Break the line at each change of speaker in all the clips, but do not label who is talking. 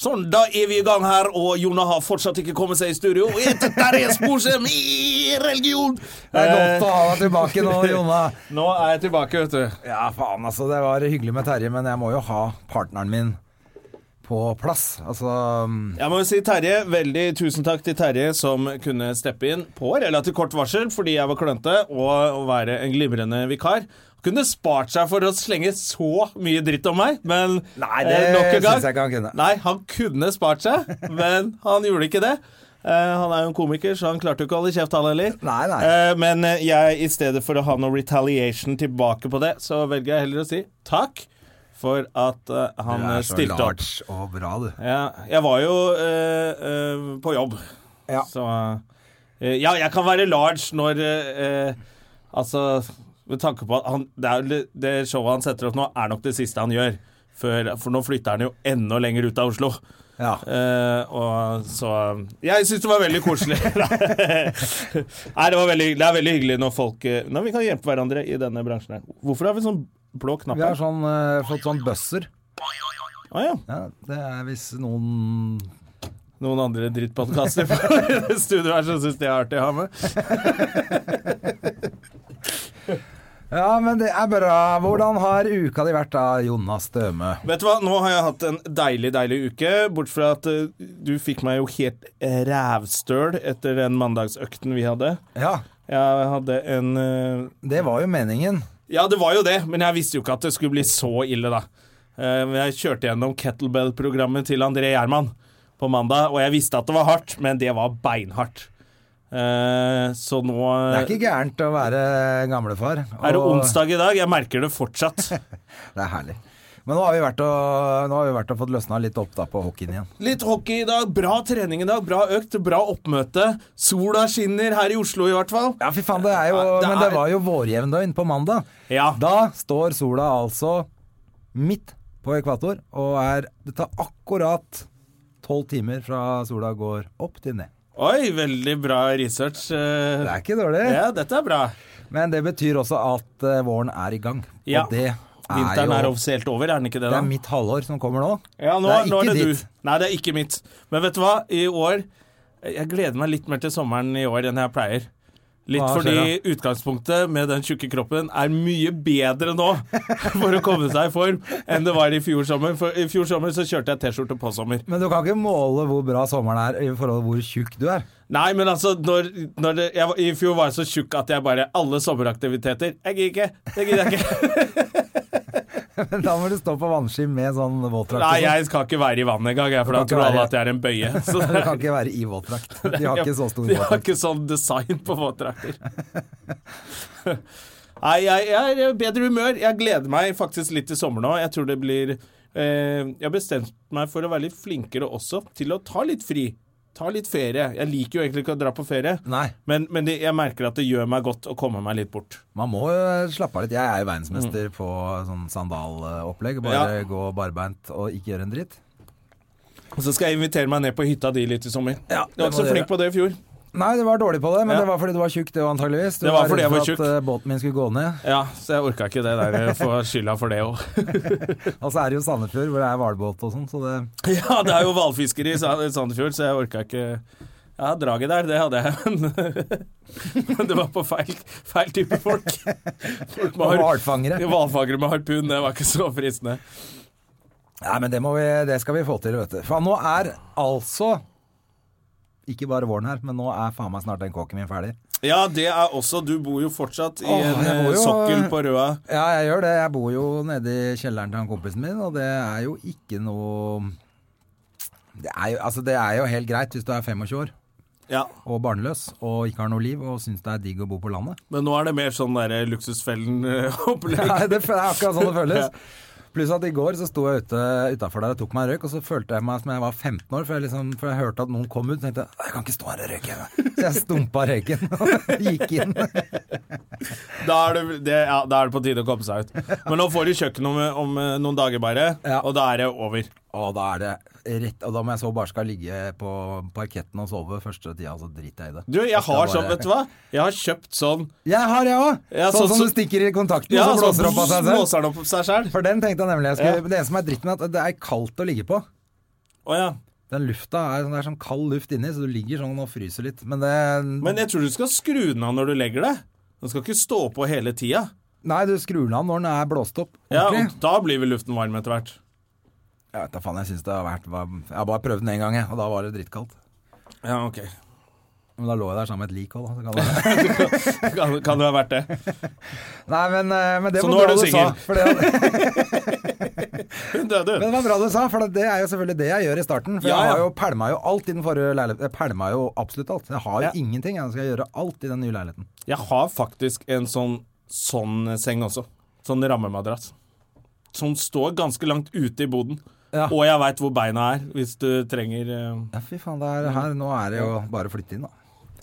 Sånn, da er vi i gang her, og Jona har fortsatt ikke kommet seg i studio. Og jeg heter Therese Sporsem i religion!
Det er
Eh,
godt å ha deg tilbake nå, Jonna.
Nå er jeg tilbake, vet du.
Ja, faen, altså. Det var hyggelig med Terje, men jeg må jo ha partneren min på plass. Altså mm,
Jeg må jo si Terje, veldig tusen takk til Terje som kunne steppe inn på relativt kort varsel fordi jeg var klønete, og å være en glimrende vikar. Kunne spart seg for å slenge så mye dritt om meg, men eh,
Nei, det
nok en gang-
synes jeg ikke han kunne.
Nei, han kunne spart seg, men han gjorde ikke det. Eh, han er jo en komiker, så han klarte jo ikke å holde kjeft, han heller.
Nei, nei.
Eh, men eh, jeg, i stedet for å ha noe retaliation tilbake på det, så velger jeg heller å si takk for at eh, han eh, stilte opp.
large og bra, du.
Ja, jeg var jo eh, eh, på jobb,
Ja.
så eh, Ja, jeg kan være large når eh, eh, Altså, med tanke på at han, det, er, jo li- det showet han setter opp nå, er nok det siste han gjør. Før, for nå flytter han jo enda lenger ut av Oslo.
Ja.
Eh, og så eh, Jeg syns det var veldig koselig. Nei, det, var veldig, det er veldig hyggelig når folk eh, Når vi kan hjelpe hverandre i denne bransjen her. Hvorfor har vi sånn blå knapp
Vi har
her?
sånn, eh, fått sånn buzzer.
Å ja.
Ja, det er hvis noen
Noen andre drittpodkaster på studioet her som syns det er artig å ha med.
Ja, men det er bra. Hvordan har uka di vært da, Jonna Støme?
Vet du hva, nå har jeg hatt en deilig, deilig uke. Bort fra at eh, du fikk meg jo helt rævstøl etter den mandagsøkten vi hadde.
Ja,
Jeg hadde en eh,
det var jo meningen.
Ja, det var jo det, men jeg visste jo ikke at det skulle bli så ille, da. Eh, men Jeg kjørte gjennom kettlebell-programmet til André Gjerman på mandag, og jeg visste at det var hardt, men det var beinhardt. Eh, Så nå
Det er ikke gærent å være gamlefar.
er det
og-
onsdag i dag. Jeg merker det fortsatt.
Det er herlig. Men nå har vi vært og, nå har vi vært og fått løsna litt opp da på hockeyen igjen.
Litt hockey i dag, bra trening i dag, bra økt, bra oppmøte. Sola skinner her i Oslo i hvert fall.
Ja, fy faen, det er jo
Ja, det
Men det
er-
var jo vårjevndøgn på mandag.
Ja.
Da står sola altså midt på ekvator og er Det tar akkurat tolv timer fra sola går opp til ned.
Oi, veldig bra research. eh.
Det er ikke dårlig.
Ja, dette er bra.
Men det betyr også at eh, våren er i gang.
Ja.
Og det er
Vinteren er
jo
offisielt over, er den ikke det?
Det
da?
er mitt halvår som kommer nå.
Ja, nå,
det er ikke
nå er det
ditt.
du. Nei, det er ikke mitt. Men vet du hva? I år Jeg gleder meg litt mer til sommeren i år enn jeg pleier. Litt
Hva
fordi
skjer
utgangspunktet med den tjukke kroppen er mye bedre nå for å komme seg i form enn det var i fjor sommer. For i fjor sommer så kjørte jeg T-skjorte på sommer.
Men du kan ikke måle hvor bra sommeren er i forhold til hvor tjukk du er.
Nei, men altså, når, når det, jeg, var- i fjor var jeg så tjukk at jeg bare Alle sommeraktiviteter. Jeg gidder ikke. Det gidder jeg ikke.
Men da må du stå på vannski med sånn våtdrakt.
Nei,
og sånn.
jeg skal ikke være i vannet engang, jeg, for da
Du kan
tror
ikke
alle
være-
at jeg er en bøye. Så
Du kan ikke være i våtdrakt. De har ikke så stor
De har
våtdrakt.
ikke sånn design på våtdrakter. Nei, jeg, jeg er i bedre humør. Jeg gleder meg faktisk litt til sommer nå. Jeg tror det blir eh, Jeg har bestemt meg for å være litt flinkere også til å ta litt fri. Ta litt ferie. Jeg liker jo egentlig ikke å dra på ferie,
Nei,
men, men det, jeg merker at det gjør meg godt å komme meg litt bort.
man må jo slappe av litt. Jeg er jo verdensmester på sånn sandalopplegg. Bare
Mm. Ja.
gå barbeint og ikke gjøre en dritt.
Og så skal jeg invitere meg ned på hytta di litt i sommer.
Ja,
jeg var
det
ikke
må
så
du
flink på det i fjor.
Nei, det var dårlig på det, men
Ja.
det var fordi du var tjukk, det var antageligvis. Du
Det var fordi jeg var
redd for
tjukk.
at eh, båten min skulle gå ned.
Ja, Så jeg orka ikke det der. Jeg får skylda for det òg.
Og så Altså, er det jo Sandefjord hvor det er hvalbåt og sånn, så det
Ja, det er jo hvalfiskeri i Sa- Sandefjord, så jeg orka ikke Ja, draget der, det hadde jeg, men, men det var på feil, feil type folk. Folk med har-
Hvalfangere.
Hvalfangere med harpun, det var ikke så fristende.
Nei, men det, må vi, det skal vi få til, vet du. Faen, nå er altså ikke bare våren her, men nå er faen meg snart den kåken min ferdig.
Ja, det er også Du bor jo fortsatt i
Åh,
en
jeg bor
eh,
jo-
sokkel på Røa.
Ja, jeg gjør det. Jeg bor jo nede i kjelleren til han kompisen min, og det er jo ikke noe det er, jo, altså det er jo helt greit hvis du er 25 år
Ja,
og barnløs og ikke har noe liv og syns det er digg å bo på landet.
eh, Men nå er det mer sånn derre Luksusfellen-opplegg.
Nei, det, fø- det er akkurat sånn det føles. Pluss at i går så sto jeg ute utafor der og tok meg en røyk, og så følte jeg meg som jeg var 15 år, for jeg, liksom, for jeg hørte at noen kom ut og tenkte jeg kan ikke stå her og røyke. jeg». Så jeg stumpa røyken og gikk inn.
Da er, det, det, ja, da er det på tide å komme seg ut. Men nå får de kjøkken om, om eh, noen dager bare,
Ja.
og da er det over.
Og da er det rett Og da må jeg så bare skal ligge på parketten og sove første tida, så driter jeg i det.
Du, jeg
skal
har sånn,
bare-
vet du hva? Jeg har kjøpt sånn
Jeg har, jeg òg!
Ja,
sånn
sånn
som
som-
du stikker i kontakten,
Ja, altså,
og så blåser det opp av seg selv.
blåser den opp av seg selv.
For den tenkte jeg nemlig jeg skulle
Ja.
Det som er dritten, er at det er kaldt å ligge på.
Å ja.
Den lufta er, det er sånn kald luft inni, så du ligger sånn og fryser litt. Men det
Men jeg tror du skal skru den av når du legger det. Den skal ikke stå på hele tida.
Nei, du skrur den av når den er blåst opp.
Ja,
Ordentlig.
og da blir vel luften varm etter hvert.
Jeg vet da faen, jeg syns det har vært var- Jeg har bare prøvd den én gang, jeg, og da var det drittkaldt.
Ja, ok.
Men da lå jeg der sammen med et lik òg, da. Så kan det...
Kan, kan det ha vært det?
Nei, men, eh, men det
Så
var
nå
bra
er du
du sa.
singel.
For det,
Hun døde,
men det
hun.
var bra du sa, for det er jo selvfølgelig det jeg gjør i starten. For
Ja,
jeg
ja.
har jo pælma jo alt i den forrige leiligheten. Jeg pælma jo absolutt alt. Jeg har jo
Ja.
ingenting. Jeg skal gjøre alt i den nye leiligheten.
Jeg har faktisk en sånn, sånn seng også. Sånn rammemadrass. Som står ganske langt ute i boden.
Ja.
Og jeg veit hvor beina er, hvis du trenger eh,
Ja, fy faen, det er her, nå er det jo bare å flytte inn, da.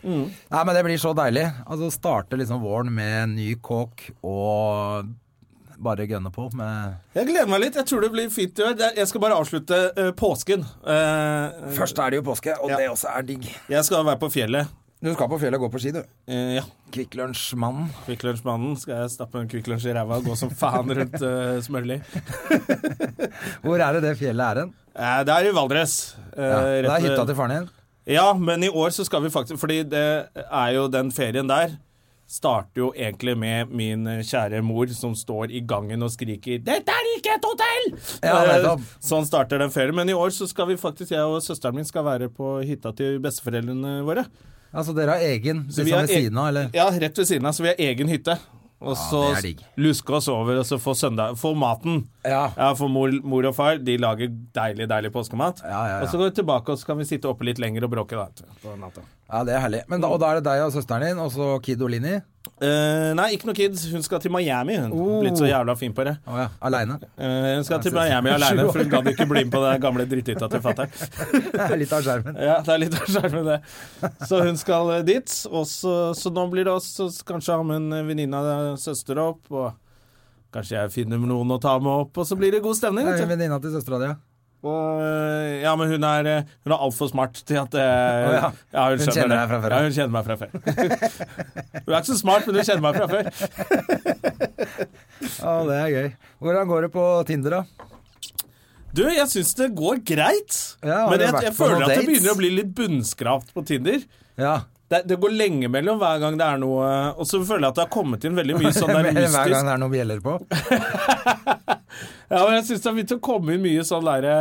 Nei, men det blir så deilig. Altså Starte liksom våren med ny kåk og bare gønne på med
Jeg gleder meg litt. Jeg tror det blir fint i år. Det er- Jeg skal bare avslutte eh, påsken. Eh,
Først er det jo påske, og
Ja.
det også er digg.
Jeg skal være på fjellet.
Du skal på fjellet og gå på ski, du.
Eh, ja.
Kvikk Lunsj-mannen.
Kvikk Lunsj-mannen. Skal jeg stappe en Kvikk Lunsj i ræva og gå som faen rundt uh, Smørli?
Hvor er det det fjellet er hen?
Eh, det er i Valdres. eh,
Ja, det
rett
er hytta
ved-
til faren din.
Ja, men i år så skal vi faktisk Fordi det er jo den ferien der starter jo egentlig med min kjære mor som står i gangen og skriker 'Dette er ikke et hotell!'
Ja,
Eh,
nettopp.
sånn starter den ferien. Men i år så skal vi faktisk, jeg og søsteren min skal være på hytta til besteforeldrene våre.
Altså dere har egen
Så
liksom
vi har
ved
e-
siden av, eller?
Ja, rett ved siden av, så vi har egen hytte. Og så
det er digg.
luske oss over og så få, søndag, få maten.
Ja.
Ja, for mor, mor og far de lager deilig, deilig påskemat.
Ja, ja, ja.
Og så går vi tilbake, og så kan vi sitte oppe litt lenger og bråke. da. På natta.
Ja, det er herlig. Men da, og da er det deg og søsteren din, og så Kid Olini.
Eh, nei, ikke noe kids. Hun skal til Miami, hun.
Oh.
Blitt så jævla fin på det.
Å ja, aleine.
Eh, hun skal til
synes-
Miami aleine, for hun gadd ikke bli med på den gamle dritthytta til fatter'n.
Litt av skjermen.
Ja, det er litt av skjermen, det. Så hun skal eh, dit. Og så, så nå blir det oss så kanskje ha med en venninne av søster opp. Og kanskje jeg finner noen å ta med opp, og så blir det god stemning.
Det
vet
er
du.
Venninna til søstera di, ja.
Og, eh, ja, men hun er, eh, hun er altfor smart til at eh,
ja. Hun kjenner
det.
deg fra før,
Ja,
ja.
hun kjenner meg fra før. hun er ikke så smart, men hun kjenner meg fra før.
Ja, det er gøy. Hvordan går det på Tinder, da?
Du, jeg syns det går greit,
Ja, har
men
du
jeg,
vært
jeg
på
føler
noen
at det
dates?
begynner å bli litt bunnskrapt på Tinder.
Ja.
Det, det går lenge mellom hver gang det er noe Og så føler jeg at det har kommet inn veldig mye sånn der
Mer enn hver
mystisk
gang det er noen bjeller på.
Ja, men jeg syns det har begynt å komme inn mye sånn derre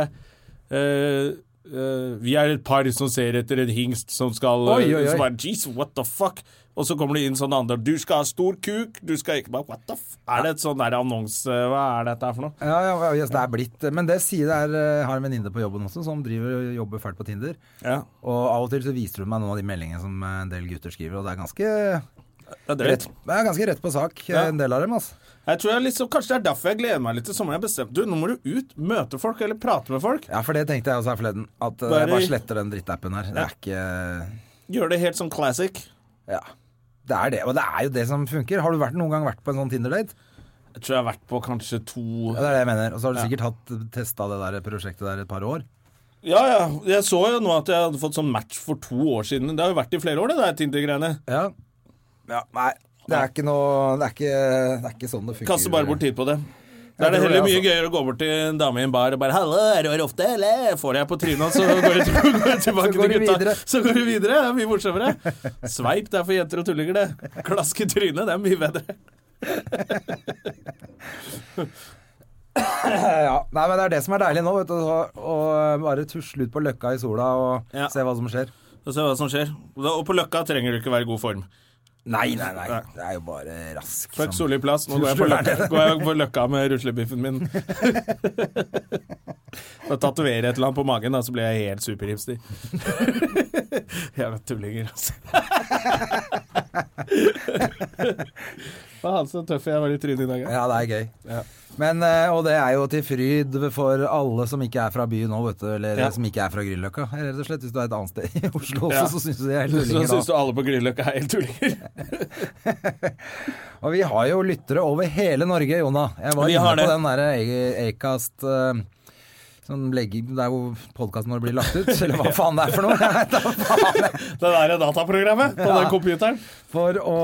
eh, eh, Vi er et par som ser etter en hingst som skal eh,
Oi, oi, oi.
Som bare, Jeez, what the fuck? Og så kommer det inn sånne andre Du skal ha stor kuk, du skal ikke bare What the f... Er det et sånn der annonse Hva er dette her for noe?
Ja, ja, ja, yes, det er blitt Men det sier jeg er, eh, har en venninne på jobben også, som driver og jobber fælt på Tinder.
Ja,
Og av og til så viser hun meg noen av de meldingene som eh, en del gutter skriver, og det er ganske
det er
rett,
drøyt.
det er ganske rett på sak, eh,
Ja.
en del av dem, altså.
Jeg tror jeg liksom, Kanskje det er derfor jeg gleder meg litt til sommeren. Jeg bestemte, du, Nå må du ut, møte folk eller prate med folk.
Ja, for det tenkte jeg også her forleden. At eh,
Bare-
jeg bare sletter den drittappen her. Det er ikke
Gjøre det helt sånn classic.
Ja. Det er det, og det er jo det som funker. Har du vært, noen gang vært på en sånn Tinder-date?
Jeg tror jeg har vært på kanskje to
Ja, det er det jeg mener. Og så har du sikkert hatt testa det der prosjektet der et par år.
Ja, ja. Jeg så jo nå at jeg hadde fått sånn match for to år siden. Det har jo vært i flere år, det der Tinder-greiene.
Ja. nei. Det er ikke noe Det er ikke, det er ikke sånn det funker.
Kaster bare bort tid på det. Da
Jeg
er det
tror det,
heller mye
altså.
gøyere å gå bort til en dame i en bar og bare 'Hallo, er du her ofte, eller?' Får jeg på trynet, så går jeg, til, går jeg tilbake
Så går
til
du
gutta.
videre.
Så går du videre. Det er mye morsommere. Sveip, det er for jenter og tullinger, det. Klask i trynet, det er mye bedre.
Ja, nei, men Det er det som er deilig nå, vet du. Å, å bare tusle ut på løkka i sola og
Ja.
se hva som skjer.
Og se hva som skjer. Og på Løkka trenger du ikke være i god form.
Nei, nei, nei. Det er jo bare rask.
Fuck
som-
Solli plass, nå går jeg på Løkka, går jeg på løkka med ruslebiffen min. da tatoverer jeg et eller annet på magen, da, så blir jeg helt superhipster. Jævla tullinger, altså. Faen, så tøff jeg var i trynet i dag. ja.
Ja, det er gøy.
Ja.
Men, eh, og det er jo til fryd for alle som ikke er fra byen nå, vet du. Eller
Ja.
som ikke er fra Grünerløkka. Eller Rett og slett, hvis du er et annet sted i Oslo også,
Ja.
så syns du de er helt
Så
ulike
syns
da.
du alle på Grünerløkka er helt tullinger.
Og vi har jo lyttere over hele Norge, Jona. Jeg
Vi
var inne
har
på
det.
den derre Acast eh, som legger, det er jo podkasten vår blir lagt ut, eller hva faen det er for noe. Jeg vet da faen.
Det der dataprogrammet på den computeren.
For å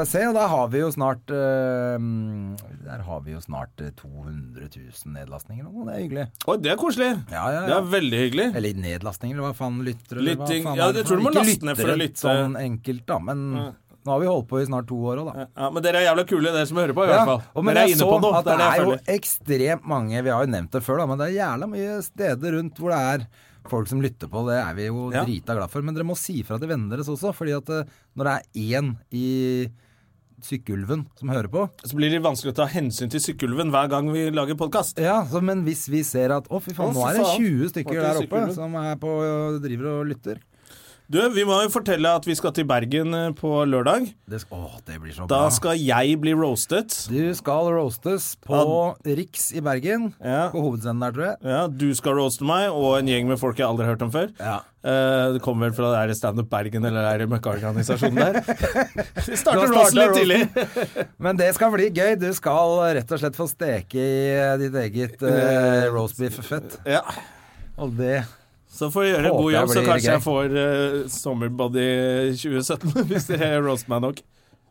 eh, se, og der har vi jo snart eh, Der har vi jo snart eh, 200 000 nedlastninger nå. Det er hyggelig.
Oi, det er koselig.
Ja, ja,
Det
ja.
er veldig hyggelig.
Eller nedlastninger, eller hva faen lytter eller
Lytting-
hva faen
ja,
er det
jeg
for
tror du må
noe? Ikke
laste ned for å
lyttere,
lytte.
Sånn enkelt, da. Men nå har vi holdt på i snart to år òg, da.
Ja, men dere er jævla kule, dere som hører på, i hvert fall.
og men
dere
jeg
er
så
inne på noe.
at det er jo
jeg føler.
ekstremt mange, vi har jo nevnt det før, da, men det er jævla mye steder rundt hvor det er folk som lytter på. Det er vi jo
Ja.
drita glad for. Men dere må si fra til vennene deres også, fordi at eh, når det er én i Sykkylven som hører på,
Så blir det vanskelig å ta hensyn til Sykkylven hver gang vi lager podkast.
Ja, så, men hvis vi ser at Å, fy faen,
Å,
nå
fy
er det
faen.
20 stykker
Var ikke
der
det
oppe
sykkelen?
som er på, driver og lytter.
Du, vi må jo fortelle at vi skal til Bergen eh, på lørdag.
Det, sk- å, det blir så
Da
bra.
skal jeg bli roastet.
Du skal roastes på Riks i Bergen.
Ja.
På hovedscenen der, tror jeg.
Ja, du skal roaste meg, og en gjeng med folk jeg aldri har hørt om før. Eh, det kommer vel fra det der Stand Up Bergen eller det der møkkaorganisasjonen der. Vi
Du har
starter
startet
roasten litt tidlig.
roasten. Men det skal bli gøy. Du skal rett og slett få steke i eh, ditt eget eh, roastbeef-fett.
Ja.
Og det
Så får jeg gjøre en
Håper
god
jeg
jobb, så
blir
kanskje
gøy.
jeg får eh, Summerbody 2017 hvis dere roaster meg nok.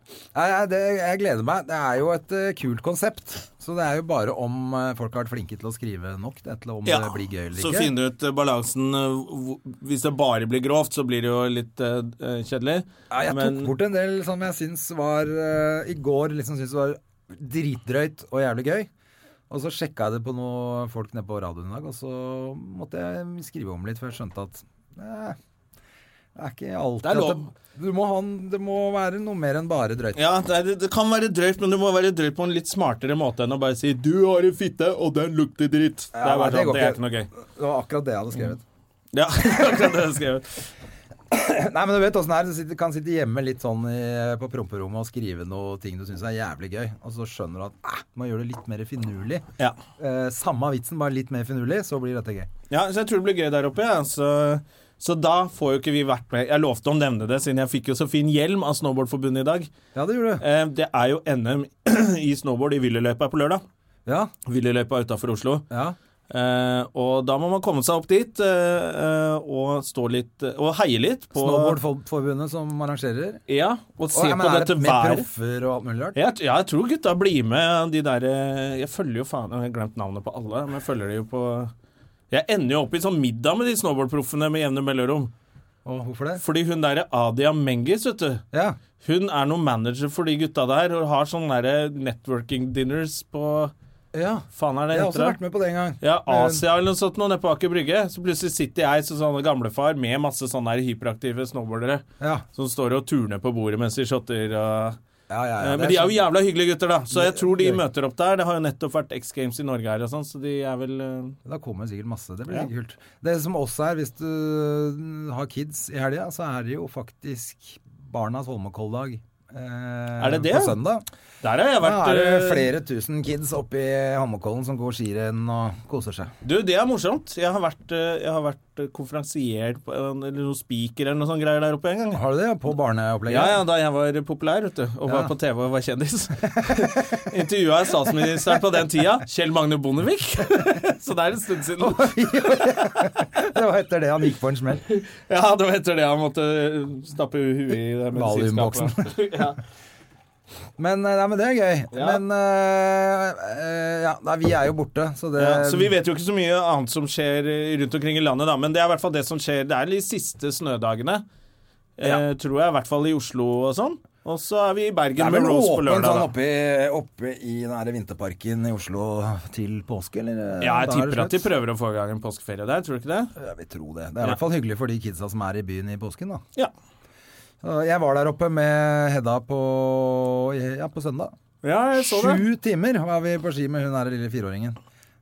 Nei, nei, det, jeg gleder meg. Det er jo et eh, kult konsept. Så det er jo bare om eh, folk har vært flinke til å skrive nok det, til om det blir gøy eller
så
ikke.
finne ut eh, balansen. eh, hvor- Hvis det bare blir grovt, så blir det jo litt eh, eh, kjedelig.
Ja, jeg
Men-
tok bort en del som jeg syns var eh, I går liksom syns var dritdrøyt og jævlig gøy. Og så sjekka jeg det på noen folk nede på radioen i dag, og så måtte jeg skrive om litt, for jeg skjønte at eh, det er ikke alltid
Det er lov.
at det, du må ha, en- det må være noe mer enn bare drøyt.
Ja, det, er, det kan være drøyt, men det må være drøyt på en litt smartere måte enn å bare si 'du har en fitte, og den lukter dritt'. det,
Ja,
er bare,
nei, det
sånn,
går
det er
ikke.
ikke noe gøy.
Det var akkurat det jeg hadde skrevet.
Ja, akkurat det jeg skrev.
Nei, men du vet åssen det er. Du sitter, kan sitte hjemme litt sånn i, på promperommet og skrive noe ting du syns er jævlig gøy, og så skjønner du at eh, man gjør det litt mer finurlig.
Ja.
Eh, samme vitsen, bare litt mer finurlig, så blir dette gøy.
ja, så jeg tror det blir gøy der oppe. Ja. Så, så da får jo ikke vi vært med. Jeg lovte å nevne det, siden jeg fikk jo så fin hjelm av Snowboardforbundet i dag.
Ja, det gjorde du.
Eh, det er jo NM i snowboard i Willerløypa på lørdag.
Ja,
Willerløypa utafor Oslo.
ja.
Eh, og da må man komme seg opp dit eh, eh, og stå litt eh, Og heie litt på
Snowboardforbundet som arrangerer.
Ja, og se
Å, ja, men
på
er det
dette
Med
været.
proffer og alt mulig rart.
Jeg, ja, jeg tror gutta blir med de der eh, Jeg følger jo faen Jeg har glemt navnet på alle, men jeg følger de jo på Jeg ender jo opp i sånn middag med de snowboardproffene med jevne mellomrom.
Og hvorfor det?
Fordi hun derre Adia Mengis, vet du.
Ja.
Hun er noen manager for de gutta der og har sånne derre networking dinners på
ja.
Faen er det
Jeg
heter
har også
det?
vært med på det en gang.
Ja, Asia eller noe sånt nå, nede på Aker Brygge. Så plutselig sitter jeg som sånn gamlefar med masse sånne her hyperaktive snowboardere
Ja,
som står og turner på bordet mens de shotter og
ja, ja. sånn-
Eh,
ja.
Men de er jo
ja.
jævla hyggelige gutter, da. Så jeg tror de
Gøy.
møter opp der. Det har jo nettopp vært X Games i Norge her og sånn, så de er vel eh,
Da kommer det sikkert masse. Det blir
Ja.
sikkert kult. Det som også er, hvis du mm, har kids i helga, så er det jo faktisk Barnas Holmenkolldag. Eh,
Er det det?
På søndag.
Der har jeg
Da
vært.
er det
eh,
flere tusen kids oppe i Holmenkollen som går skirenn og koser seg.
Du, det er morsomt. Jeg har vært, eh, jeg har vært eh, konferansier på en- eller noen speaker eller noe sånt greier der oppe en gang.
Har du det på barneopplegget?
Ja, ja, da jeg var populær, vet du, og var
Ja.
på TV og var kjendis. Intervjua jeg statsministeren på den tida, Kjell Magne Bondevik. så det er en stund siden.
Det var etter det han gikk på en smell.
Ja, det var etter det han måtte eh, stappe huet i det medisinskapet. ja.
Men, eh, nei, men det er gøy.
Ja.
Men eh, eh, ja, nei, vi er jo borte, så det
ja, så vi vet jo ikke så mye annet som skjer eh, rundt omkring i landet, da, men det er i hvert fall det som skjer. Det er de siste snødagene, eh, tror jeg, i hvert fall i Oslo og sånn. Og så er vi i
det
Bergen
er vel
med Rose på
åpent
lørdag.
sånn
da.
oppe, oppe i den her vinterparken i Oslo til påske, eller?
Ja, jeg
Da er det
tipper at de
slutt.
prøver å få i gang en påskeferie der, tror du ikke det?
Jeg vil tro det. Det er i hvert fall hyggelig for de kidsa som er i byen i påsken, da.
Ja.
Så Jeg var der oppe med Hedda på, ja, på søndag.
Ja, jeg så det.
Sju timer var vi på ski med hun her lille fireåringen.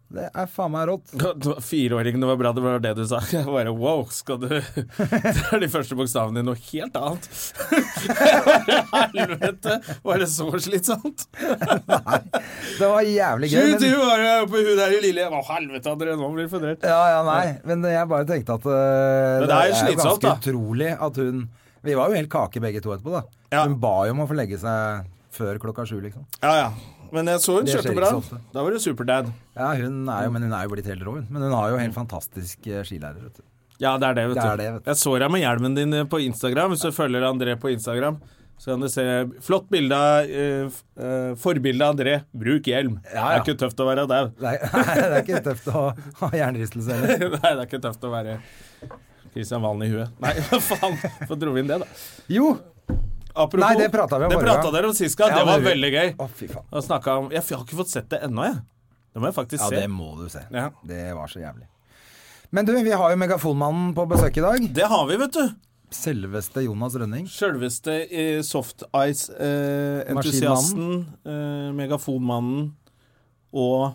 Det er faen meg rått.
Fireåringene var bra, det var det du sa. Jeg bare wow, skal du Det er de første bokstavene i noe helt annet. Helvete, var det så slitsomt?
Det var jævlig gøy.
Gud,
men-
du var jo på hun der i lille Å, helvete, André, nå blir du fordelt.
Ja, ja, nei. Men jeg bare tenkte at eh,
Men det er jo slitsomt,
ganske
da.
utrolig at hun Vi var jo helt kake begge to etterpå, da.
Ja.
Hun ba jo om å få legge seg før klokka sju, liksom.
Ja, ja. Men jeg så hun
Det skjer
kjørte
ikke
bra.
så ofte.
Da var du superdad.
Ja, hun er jo, men hun er jo blitt helt rå, hun. Men hun har jo helt fantastisk eh, skilærer, vet du.
Ja, det er det, vet du.
Det er det, vet du.
Jeg så deg med hjelmen din eh, på Instagram. Hvis du følger André på Instagram, så kan du se flott bilde av eh, f- eh, forbildet André. Bruk hjelm.
Ja,
Det
ja.
er ikke tøft å være dau.
Nei, det er ikke tøft å ha hjernerystelse heller.
Nei, det er ikke tøft å være Kristian Valen i huet. Nei, hva faen. Hvorfor dro vi inn det, da?
Jo!
Apropos,
Nei, det pratet vi om
det
forrige
pratet
gang.
dere om sist gang.
Ja,
Det var
det-
veldig gøy.
Å, fy faen.
Og snakket om Jeg har ikke fått sett det ennå, jeg. Det må jeg faktisk
Ja,
se.
det må du se.
Ja.
Det var så jævlig. Men du, vi har jo Megafonmannen på besøk i dag.
Det har vi, vet du.
Selveste Jonas Rønning.
Sjølveste eh, softice-entusiasten, eh, megafonmannen og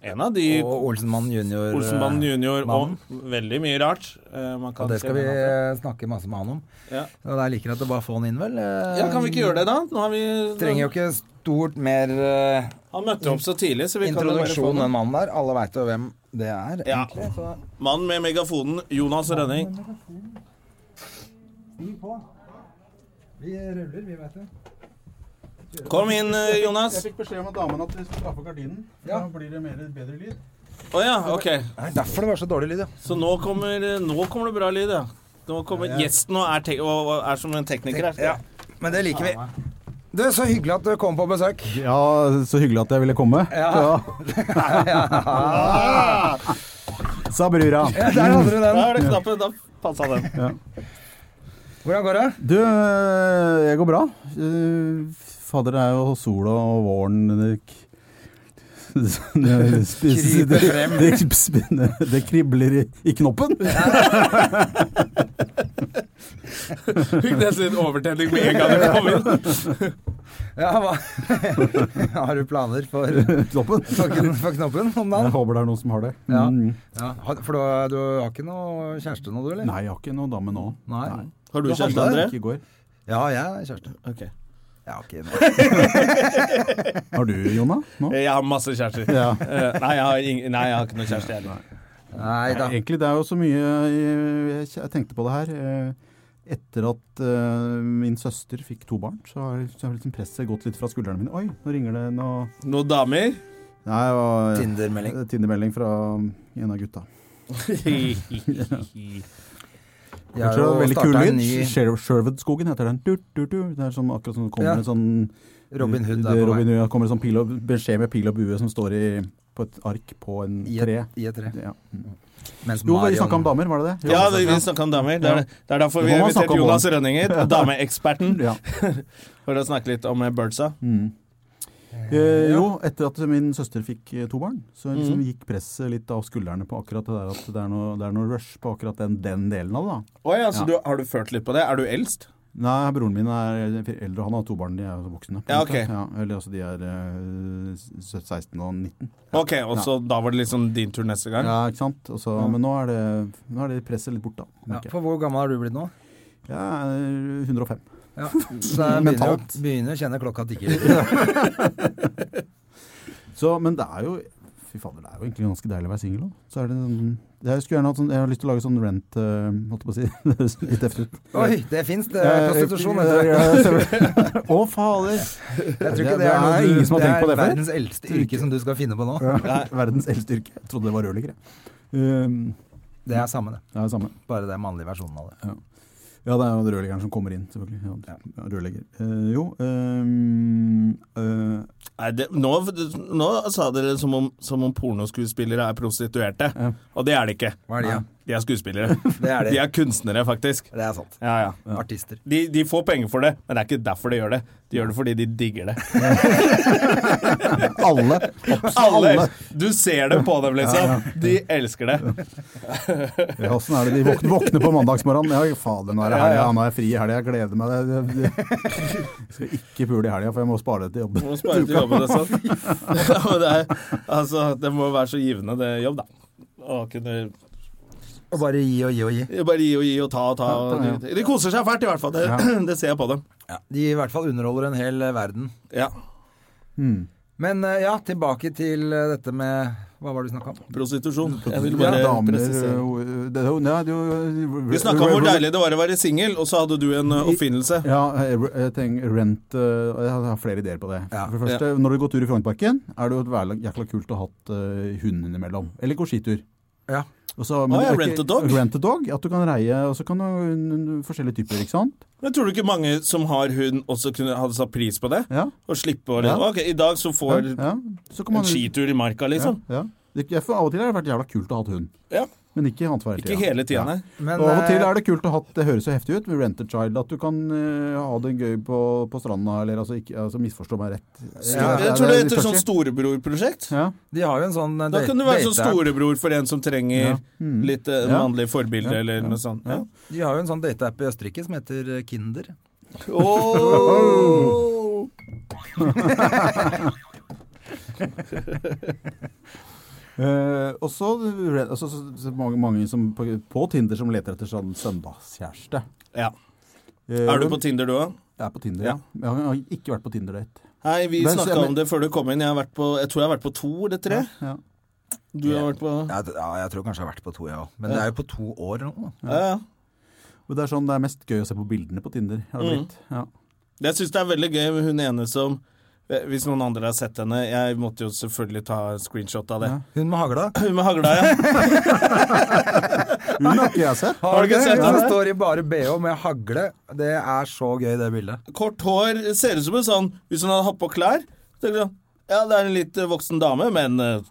en av de
Og Olsenmann junior. eh,
Olsenbanen junior og
mannen.
veldig mye rart. Eh, man kan
Og det
se
skal vi
den her.
eh, snakke masse med han om.
Ja.
Og jeg liker at du bare får han inn, vel? Eh,
ja, Kan vi ikke gjøre det, da? Nå har vi,
Trenger jo ikke stort mer eh,
Han møtte opp så tidlig, så vi kan jo bare få
introduksjon, den mannen der. Alle veit jo hvem det er.
Ja.
egentlig, så-
Mannen med megafonen, Jonas Rønning.
Stig på. Vi ruller, vi, veit du.
Kom inn, eh, Jonas.
Jeg fikk beskjed om at damen at vi skulle dra på gardinen. for
Ja.
Da blir det mer, bedre lyd.
Å ja, ok.
Det er derfor det var så dårlig lyd, ja.
Så nå kommer, eh, nå kommer det bra lyd, ja. Nå kommer Gjesten og er, tek og og er som en tekniker her.
ja. Men det liker vi. Du, så hyggelig at du kom på besøk.
Ja, så hyggelig at jeg ville komme.
Ja.
Sa brura.
Ja, der hadde du
Da
den.
er det knappen. Da passa den.
Hvordan går det?
Du, øh, jeg går bra. Øh, Fader, det er jo sola og våren Det, k- det spiser-
Kryper frem.
det- det spinner- det kribler i, i knoppen.
Fikk nesten litt overtenning med en gang jeg kom inn.
Ja, hva? Har du planer for,
knoppen.
for, kn- for knoppen om
Jeg
dagen?
håper det er noen som har det.
Ja.
Mm.
Ja. har- For du, du har ikke noe kjæreste nå, du, eller?
Nei, jeg har ikke noen dame nå.
Nei.
Har du
Jeg hadde
kjæreste, André?
ikke i går.
Ja, jeg er kjæreste.
Ok.
Jeg har ikke noe.
Har du, Jonna? Nå?
Eh, Jeg har masse kjærester.
Ja.
Eh, Nei, jeg har, ing nei, jeg har ikke noe kjæreste, jeg heller.
Nei da.
Egentlig, det er jo så mye eh, Jeg jeg tenkte på det her. eh, Etter at eh, min søster fikk to barn, så har, så har liksom presset gått litt fra skuldrene mine. Oi, nå ringer det nå.
Noen damer?
Nei, det var
Tinder-melding.
eh, Tinder-melding fra en av gutta.
Jeg
Jeg
har
tror det var
jo
veldig kul
starta en
lyd.
ny
Sher- Sherwood-skogen heter den. Du, du, du. Det er som akkurat som det kommer
Ja.
en sånn
Robin Hood
det,
der på
Robin
vei.
Hood, kommer en sånn pil og, beskjed med pil og bue som står i, på et ark på en
I
tre.
et, I et tre.
Ja.
Mens
Jo, vi
Marion-
snakka om damer, var det det?
Ja, vi vi snakker om damer. Det er, det er derfor vi
Det
har
må man
invitert
snakke om
Jonas
også.
Rønninger, dameeksperten,
Ja.
for å snakke litt om eh, birdsa.
Mm. Eh, jo, etter at min søster fikk eh, to barn, så liksom gikk presset litt av skuldrene på akkurat det der at det er noe, det er noe rush på akkurat den, den delen av det. da.
Å ja, så du, har du følt litt på det? Er du eldst?
Nei, broren min er eldre, og han har to barn, de er jo voksne. på en
Ja,
måte.
ok.
ja, eller altså, de er eh, s- 16 og 19.
Ok, og så da var det liksom din tur neste gang?
Ja, ikke sant? Og så, Men nå er, det, nå er det presset litt borte, da.
ja,
merker jeg. eh,
For hvor gammel har du blitt nå?
Jeg er 105.
Ja. Så jeg begynner,
Mentalt.
å- begynner å kjenne klokka tikker.
Så, men det er jo Fy fader, det er jo egentlig ganske deilig å være singel òg. Så er det sånn Jeg skulle gjerne hatt sånn Jeg har lyst til å lage sånn rent, eh, holdt jeg på å si. Det høres litt tøft ut.
Oi, det fins
Eh,
prostitusjon. vet du.
det. Å, fader.
Jeg tror ikke det er noe
ingen som har tenkt på
det
det
er
før.
verdens eldste yrke som du skal finne på nå.
Ja, Verdens eldste yrke. Jeg trodde det var rørlegger, jeg. Um,
Det er samme, det.
det er det samme.
Bare det er mannlige versjonen av det.
Ja, det er jo rørleggeren som kommer inn, selvfølgelig. Ja, ja, rørlegger. Eh, jo um, eh,
Nei, det, nå, nå sa dere som om, som om pornoskuespillere er prostituerte, og det er det ikke.
Hva er det, ja?
De er skuespillere.
Det er
De
det.
er kunstnere, faktisk.
Det er sant.
Ja, ja.
Artister.
De, de får penger for det, men det er ikke derfor de gjør det. De gjør det fordi de digger det.
Alle. Absolutt
Alle,
alle.
du ser det på dem, liksom. De elsker det.
Ja, Åssen er det de våkner, våkner på mandagsmorgenen? Ja, fader, nå er det
Ja,
helg,
ja.
ja, nå er jeg fri i helga, jeg gleder meg. Jeg, skal ikke pule i helga, for jeg må spare det til
Du
jobben.
må spare til jobben og sånn. Og det, er, altså, det må være så givende, det jobb, da. Å kunne
Og bare gi og gi og gi.
bare gi og gi og ta og ta. og- De koser seg fælt, i hvert fall. Det, det ser jeg på dem.
De i hvert fall underholder en hel eh, verden.
Ja.
Men eh, ja, tilbake til eh, dette med Hva var det du snakka om?
Prostitusjon. Jeg vil bare
Damer
presisere.
øh, øh, det er jo- nei, det er jo-
Vi snakka om hvor deilig det var å være singel, og så hadde du en uh, oppfinnelse.
Ja, jeg- jeg tenker rent øh, Jeg har flere ideer på det.
Ja.
For det første, Når du går tur i Frognerparken, er det jo veldig- jækla kult å ha hatt øh, hund innimellom. Eller gå skitur.
Ja.
Og så- men
Å, ja,
det er
rent
ikke-
a dog.
Rent a dog. At du kan reie, og så kan du øh, forskjellige typer, ikke sant?
Men tror du ikke mange som har hund, også kunne, hadde satt pris på det?
Ja.
Å slippe å
Ja.
liksom, Ok, i dag så får
ja, ja. Så
en
kan man-
skitur i marka, liksom.
Ja, ja. Det, jeg, for av og til har det vært jævla kult å ha hatt hund,
Ja.
men ikke annethver
Ikke hele tida, nei.
Men,
Og av og til
eh,
er det kult å ha hatt, det høres så heftig ut, med Rent a Child, at du kan eh, ha det gøy på, på stranda, eller altså, ikke, altså misforstå meg rett.
Ja,
Jeg tror det heter sånn storebrorprosjekt.
Ja,
De har jo en sånn eh,
Da
date-
kan du være sånn
date-app.
storebror for en som trenger
Ja. Mm.
litt eh,
Ja.
mannlig forbilde,
Ja.
eller
Ja.
noe sånt. Ja.
Ja.
De har jo en sånn dateapp i Østerrike som heter eh, Kinder.
Oh. Eh, og så altså, så, så mange, mange som på, på Tinder som leter etter sånn søndagskjæreste.
Ja.
Eh,
Er du på Tinder, du òg?
Jeg er på Tinder, ja. Jeg har- jeg har ikke vært på Tinder-date.
Hei, vi
Men så-
snakka
men-
om det før du kom inn. Jeg, har vært på, jeg tror jeg har vært på to eller tre.
Ja.
Du har vært på
Ja, det- ja, jeg tror kanskje jeg har vært på to, jeg òg. Men det er jo på to år eller noe.
Ja, ja.
Og det er sånn det er mest gøy å se på bildene på Tinder. Har det
Mm.
blitt. Ja.
Jeg syns det er veldig gøy med hun ene som eh, Hvis noen andre har sett henne Jeg måtte jo selvfølgelig ta en screenshot av det.
Ja.
Hun med hagla.
Hun med hagla, ja.
Hun har ikke jeg sett.
Har du ikke sett
Hun
henne?
står i bare bh med hagle. Det er så gøy, det bildet.
Kort hår. Ser ut som en sånn Hvis hun hadde hatt på klær så tenker jeg sånn, Ja, det er en litt eh, voksen dame, men eh,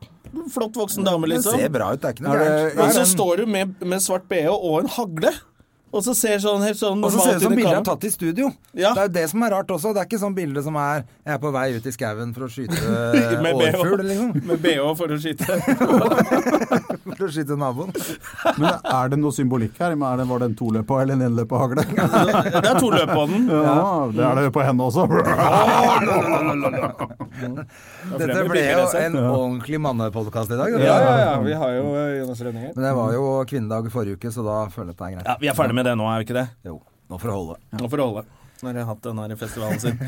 flott voksen dame,
Det
liksom.
ser bra ut, det er ikke noe
Er det-
gærent.
Og så
Men-
står hun med, med svart BH og en hagle. Og så ser sånn helt sånn
Og så ser det ut
normalt
som
inn i
bildet er
kameraet.
tatt i studio.
Ja.
Det er jo det som er rart også. Det er ikke sånn bilde som er 'jeg er på vei ut i skauen for å skyte
Med BH.
årfugl', liksom.
Med BH for å skyte.
For å skyte naboen.
Men er det noe symbolikk her? Er det, var det en toløpa eller en enløpa hagle?
Det er to løp på den.
Ja, det er det på henne også.
Dette ble jo en ordentlig mannepodkast i dag. dette.
Ja, ja, ja. Vi har jo eh, Jonas Rønning her.
Men det var jo kvinnedag i forrige uke, så da føler jeg at det er greit.
Ja, vi er ferdig med det nå, er vi ikke det?
Jo, nå får det holde.
Nå får det holde. Nå har jeg hatt den her i festivalen sin.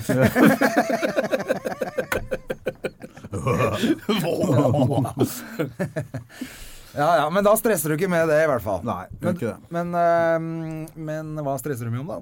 Ja, ja, men da stresser du ikke med det, i hvert fall.
Nei, gjør
men,
ikke det.
Men, eh, men hva stresser du mye om, da?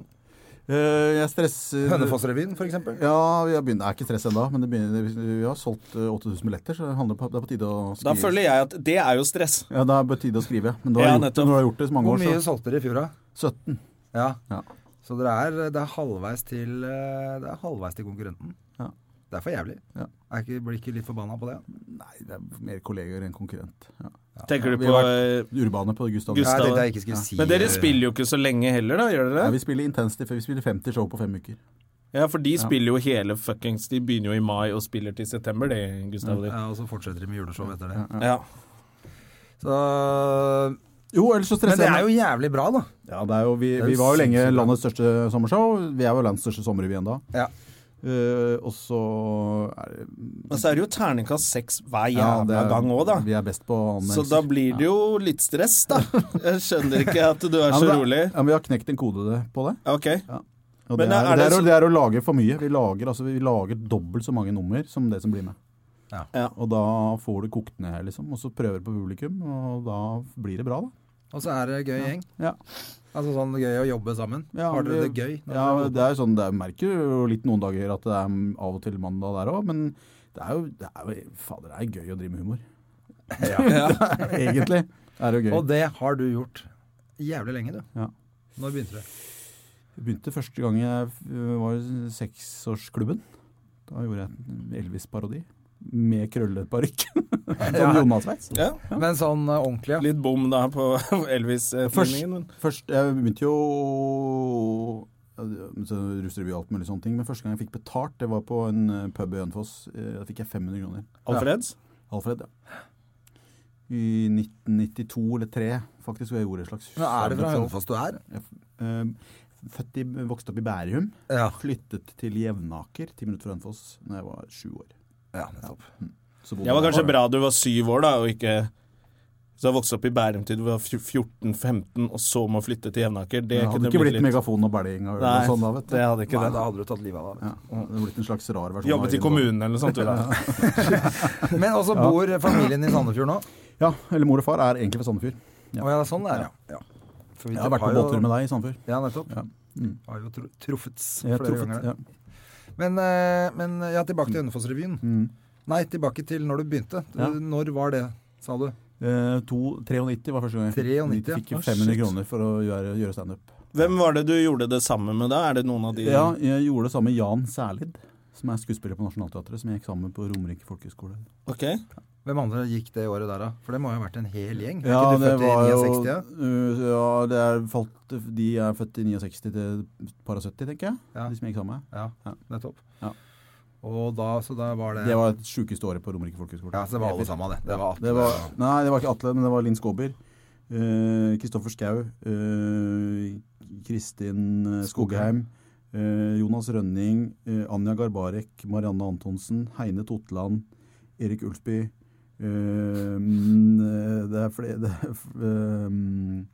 Eh, jeg stresser
Hønefoss-revyen, for eksempel?
Ja, jeg begynner. Det er ikke stress ennå, men det begynner, vi har solgt eh, 8000 billetter, så det, handler på, det er på tide å skrive.
Da føler jeg at det er jo stress.
Ja, det er på tide å skrive. Men du har,
Ja,
gjort,
nettopp.
det- når du har gjort det så mange
Hvor
år,
mye solgte dere i fjor, da?
så 17.
Ja.
Ja.
Så dere er, det er halvveis til eh, Det er halvveis til konkurrenten.
Ja.
Det er for jævlig.
Ja.
Er ikke, blir ikke litt forbanna på det?
Nei, det er mer kolleger enn konkurrent. Ja.
Tenker du
vi
på
har
eh,
Urbane på Gustav.
Nei,
Gustav.
jeg tenkte jeg ikke skulle si
Men dere spiller jo ikke så lenge heller, da? Gjør
Ja,
dere det?
vi spiller intensivt, for vi spiller 50 show på fem uker.
Ja, for de spiller jo hele fuckings De begynner jo i mai og spiller til september, det, Gustav. De.
Ja, og så fortsetter de med juleshow etter det.
Ja.
Så,
Jo, ellers så
men
stresser
det
jeg
er
meg.
jo jævlig bra, da.
Ja, det er jo, vi,
er
vi
jo
var jo lenge
sinnssykt bra.
landets største sommershow. Vi er jo landets største sommerrevy ennå.
Ja.
Eh, og så er det
Men så er det jo terningkast seks hver
ja,
jævla
det er-
gang òg, da.
Vi er best på
Så
anmeldelser.
da blir det jo litt stress, da. Jeg skjønner ikke at du er
Ja, men
så
det-
rolig.
Ja, men vi har knekt en kode det- på det.
Ok.
Og det,
Men
er,
er
det,
det
er,
så-
å- det er å lage for mye. Vi lager, altså, vi lager dobbelt så mange nummer som det som blir med.
Ja.
Ja.
Og da får du kokt ned, liksom. Og så prøver på publikum, og da blir det bra, da.
Og så er det gøy gjeng.
Ja.
Altså sånn gøy å jobbe sammen.
Ja,
har dere
vi-
det gøy? når
Ja,
dere jobber?
det er sånn, det er, merker jo litt noen dager at det er av og til mandag der òg, men det er jo, det er jo Fader, det er gøy å drive med humor. Egentlig er det jo gøy.
Og det har du gjort jævlig lenge, du.
Ja.
Når begynte du?
Jeg begynte første gang jeg ø, var i seksårsklubben. Da gjorde jeg en Elvis-parodi. med krølleparykk. sånn
Ja.
Jonas-sveis.
Ja.
Men sånn eh, ordentlig, ja.
Litt bom da på Elvis-filmingen. men-
Først, jeg begynte jo ja, det- så russerevy og alt mulig sånne ting, men første gang jeg fikk betalt, det var på en eh, pub i Hønefoss. Eh, Da fikk jeg 500 kroner.
Alfreds?
Alfred, ja. I 1992 eller 3 faktisk, hvor jeg gjorde et slags
Men er det fra
sånn
Hønefoss du er?
Eh, Født i, vokste opp i Bærum.
Ja.
Flyttet til Jevnaker, ti minutter fra Hønefoss, da jeg var sju år.
ja nettopp.
Så bodde
Det var
jeg
kanskje
der.
bra du var syv år, da, og ikke Så vokste opp i Bærum til du var 14-15, og så må flytte til Jevnaker. Det
Det hadde
kunne
ikke
blitt
blitt
litt
megafon og belging og
Nei,
sånn da, vet du.
det hadde ikke
Nei,
det.
da hadde du tatt livet av deg.
Ja, det hadde blitt en slags rar versjon. av
Jobbet i
Øyvind
kommunen eller noe sånt. du, da.
vet du. Men også bor familien i Sandefjord nå? Å
Bolle. Ja, eller mor og far er egentlig fra Sandefjord. Ja.
ja, det er sånn det er, ja. ja. For vi
Jeg har vært på
jo-
båttur med deg i Sandefjord.
Ja, nettopp.
Ja. Mm.
Har jo tru- truffet
Jeg
flere
har truffet,
ganger.
ja.
Men, eh, men ja, tilbake til Hønefoss-revyen.
Mm.
Nei, tilbake til når du begynte. Du-
Ja.
Når var det, sa du?
Eh, to- 93 var første gang jeg fikk-
93, ja.
fikk
Ah,
500
shit.
kroner for å gjøre, gjøre standup.
Hvem var det du gjorde det sammen med da? Er det noen av de
Ja, jeg gjorde det samme med Jan Særlid, som er skuespiller på Nationaltheatret, som jeg gikk sammen med på Romerike folkehøgskole.
Ok.
Hvem andre gikk det året der, da? For det må jo ha vært en hel gjeng? Er
Ja,
ikke du
det
født i
var jo
69, ja?
uh, Ja, det er falt De er født i 69 til et par og 70, tenker jeg.
Ja.
De som jeg gikk sammen med.
Ja,
Ja.
nettopp.
Ja.
Og da, så da var det,
Det var det sjukeste året på Romerike folkehøgskole.
Ja, så det var alle sammen, det. Det var Atle.
Det var, nei, det var ikke Atle, men det var Linn Skåber. eh, Kristoffer Schau. eh, Kristin eh, Skogheim. eh, Jonas Rønning. eh, Anja Garbarek. Marianne Antonsen. Heine Totland. Erik Ulsby. eh, mm, eh, det er flere det er, f- eh,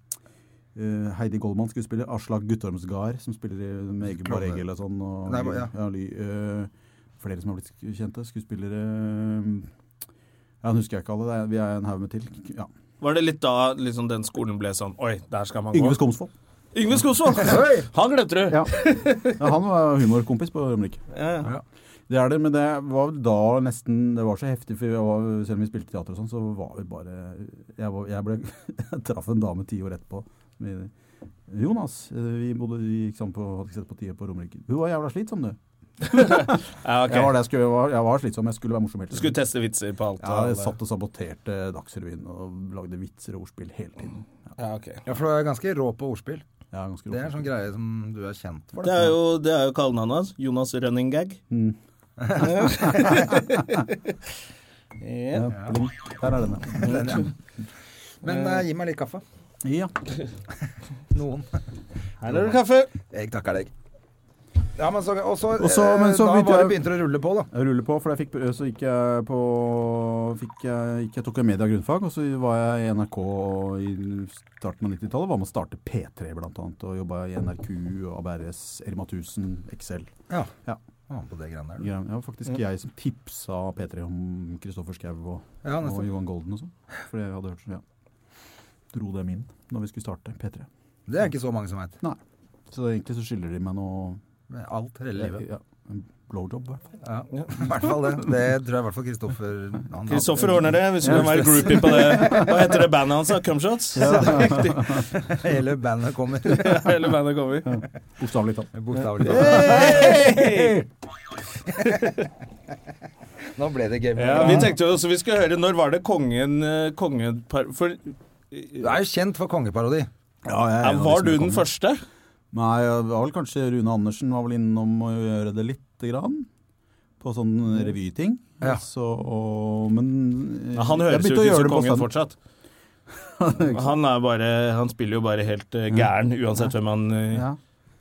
eh, Heidi Goldmann, skuespiller. Aslak Guttormsgard, som spiller i- med Egil
Klovne.
Barregel og sånn. Og,
Nei, ja.
ly, eh, flere som har blitt sk- kjente. Skuespillere. eh, ja, nå husker jeg ikke alle. Det er, vi er en haug med til. Ja.
Var det litt da liksom, den skolen ble sånn Oi, der skal man gå.
Yngve Skomsvold.
Yngve Skomsvold! Han glemte du!
Ja. ja, han var humorkompis på Romerike.
Ja, ja.
Det er det, men det var vel da nesten Det var så heftig, for vi var, selv om vi spilte teater og sånn, så var vi bare Jeg, var, jeg, ble, jeg traff en dame ti år etterpå. Vi, Jonas, eh, vi bodde vi gikk sammen på, hadde ikke sett på tide på Romerike. Hun var jævla slitsom, du.
Ja, ok.
Jeg, var det, jeg, skulle, jeg, var, jeg var slitsom, jeg skulle være morsom hele
Du
tiden.
skulle teste vitser på alt.
ja,
og
jeg
det.
satt og saboterte Dagsrevyen og lagde vitser og ordspill hele tiden.
ja, ok.
Ja, for du er ganske rå på ordspill.
Jeg er ganske
Det er en
rolig.
sånn greie som du er kjent for.
Det er jo,
sånn?
det er jo kallenavnet hans. Jonas Running Gag.
Mm.
Ja.
Ja, blink. Der er denne.
Den, ja. Men eh, gi meg litt kaffe.
Ja.
Noen.
Her er det kaffe.
Jeg takker deg. Ja, men så, og så,
Og så-
eh,
men så
da
begynte
var det
jeg-
begynte det å rulle på, da.
Jeg ruller på, for jeg fikk, så gikk jeg på fikk jeg, gikk jeg, Tok jeg media grunnfag, og så var jeg i NRK i starten av 90-tallet. Var med å starte P3 blant annet, og jobba i NRK, og ABRS, Erma 1000, Excel.
Ja.
Ja.
Ah, på det greiene der.
Ja, det var faktisk jeg som tipsa P3 om Kristoffer Schau og,
Ja,
og
nettopp.
Johan Golden og sånn. For jeg hadde hørt så ja. Dro dem inn når vi skulle starte P3.
Det er ikke så mange som veit.
Så egentlig så skylder de meg noe
Alt hele livet.
ja, en blowjob, i hvert fall.
Ja. I hvert fall det. Det tror jeg i hvert fall Kristoffer han-
Kristoffer ordner det. Hvis du kan være groupie på det. Hva heter det bandet hans? da? Cumshots?
Hele bandet kommer.
Hele bandet kommer.
Bokstavelig talt.
Bokstavelig
Hey!
Nå ble det game.
Ja, vi tenkte jo også vi skulle høre Når var det kongen, eh, kongen par- For
Du er jo kjent for kongeparodi.
Ja, jeg er
ja,
en av de
var
som
du
kom
den
med.
første?
Nei, det var vel kanskje Rune Andersen var vel innom å gjøre det lite grann. På sånn revyting.
Ja.
Så, og, men eh,
Ja, han
jeg
høres jo ikke
begynte å
ut
gjøre
som
det på
kongen
stand-
fortsatt. Han, er bare, han spiller jo bare helt eh, gæren, uansett hvem han eh,
Ja.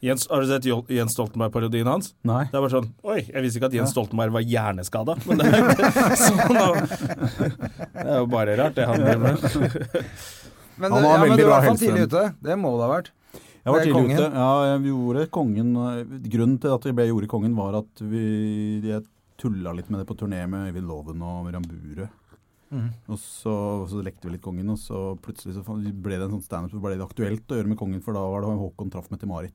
Jens, Har du sett Jol- Jens Stoltenberg-parodien hans?
Nei.
Det er bare sånn Oi, jeg visste ikke at Jens
Ja.
Stoltenberg var hjerneskada. Men det er, jo ikke sånn, da. det er jo bare rart, det han driver med.
Men,
Han
du-
har
ja, men
veldig
du var i
bra
hvert fall
helse.
tidlig ute. Det må det ha vært.
Jeg var
Det er
tidlig
kongen.
ute. Ja, jeg gjorde kongen. eh, Grunnen til at jeg ble gjorde kongen, var at vi, jeg tulla litt med det på turné med Øyvind Loven og Miriam Bure. Og så, så lekte vi litt kongen, og så plutselig så fan- ble det en sånn standup. Så ble det aktuelt å gjøre med kongen, for da var det Håkon traff meg til Marit.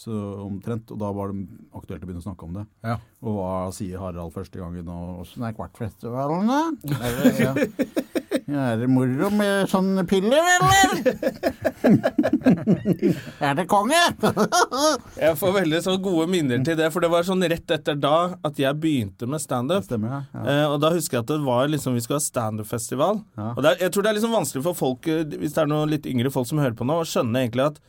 Så omtrent, Og da var det aktuelt å begynne å snakke om det.
Ja.
Og sånn hva sier Harald første gangen? Og åssen er kvartfestivalen, da? Er det- Ja. Er det moro med sånne piller, eller? er det konge?
Jeg får veldig så gode minner til det, for det var sånn rett etter da at jeg begynte med standup.
Stemmer det. Ja.
Eh, og da husker jeg at det var liksom, vi skulle ha standup-festival.
Ja.
Og det er, jeg tror det er liksom vanskelig for folk, eh, hvis det er noen litt yngre folk som hører på nå, å skjønne egentlig at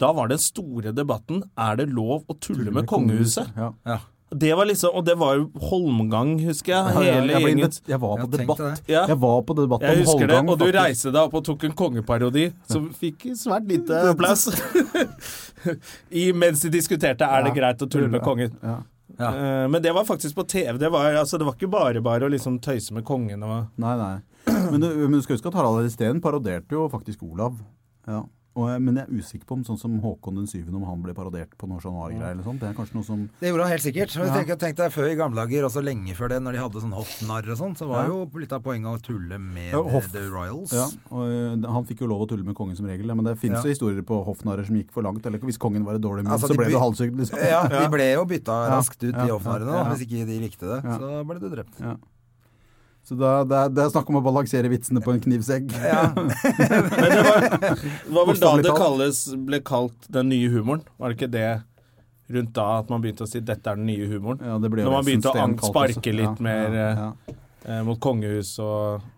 da var den store debatten er det lov å tulle, med, kongehuset.
Ja.
Det var liksom, Og det var jo Holmgang, husker jeg.
Ja, jeg,
Hele
jeg, ble
gjengen.
invit- jeg var
Ja,
på
tenk
debatt.
deg det.
Ja.
Jeg var på debatt
Jeg
om
husker det,
Holmgang.
og du
faktisk.
reiste deg opp og tok en kongeparodi som fikk svært lite plass. I, mens de diskuterte er det
Ja.
greit å tulle med kongen.
Ja.
Ja.
Eh, Men det var faktisk på TV. Det var, altså, det var ikke bare bare å liksom tøyse med kongen. Og...
Nei, nei. Men du, men du skal huske at Harald Resten parodierte jo faktisk Olav. Ja. Og, jeg- men jeg er usikker på om sånn som Håkon den syvende, om han ble parodiert på noe januar-greier eller sånt. Det er kanskje noe som
Det gjorde han helt sikkert. Og
Ja.
jeg tenker, tenk deg før i gamle dager, altså lenge før det, når de hadde sånn hoffnarr og sånn, så var
Ja.
jo litt av poenget å tulle med
Ja, hoff.
The Royals.
Ja, og eh, Han fikk jo lov å tulle med kongen som regel, men det
Ja.
fins jo historier på hoffnarrer som gikk for langt. Eller hvis kongen var et dårlig munn,
Altså,
så
de
ble
by-
du halshugd, liksom.
Ja, de ble jo bytta raskt ut,
ja,
de hoffnarrene, da,
ja.
hvis ikke de likte det.
Ja.
Så ble du drept.
Så da, det, er, det er snakk om å balansere vitsene på en knivsegg.
Men det var, det var vel da
Bokstavelig
det
talt.
kalles, ble kalt den nye humoren. Var det ikke det rundt da at man begynte å si 'dette er den nye humoren'?
Ja, det ble jo
Når man
Wilson
begynte å
Steen
an-
kalt også.
sparke litt mer,
ja,
eh,
ja.
Eh, mot kongehus og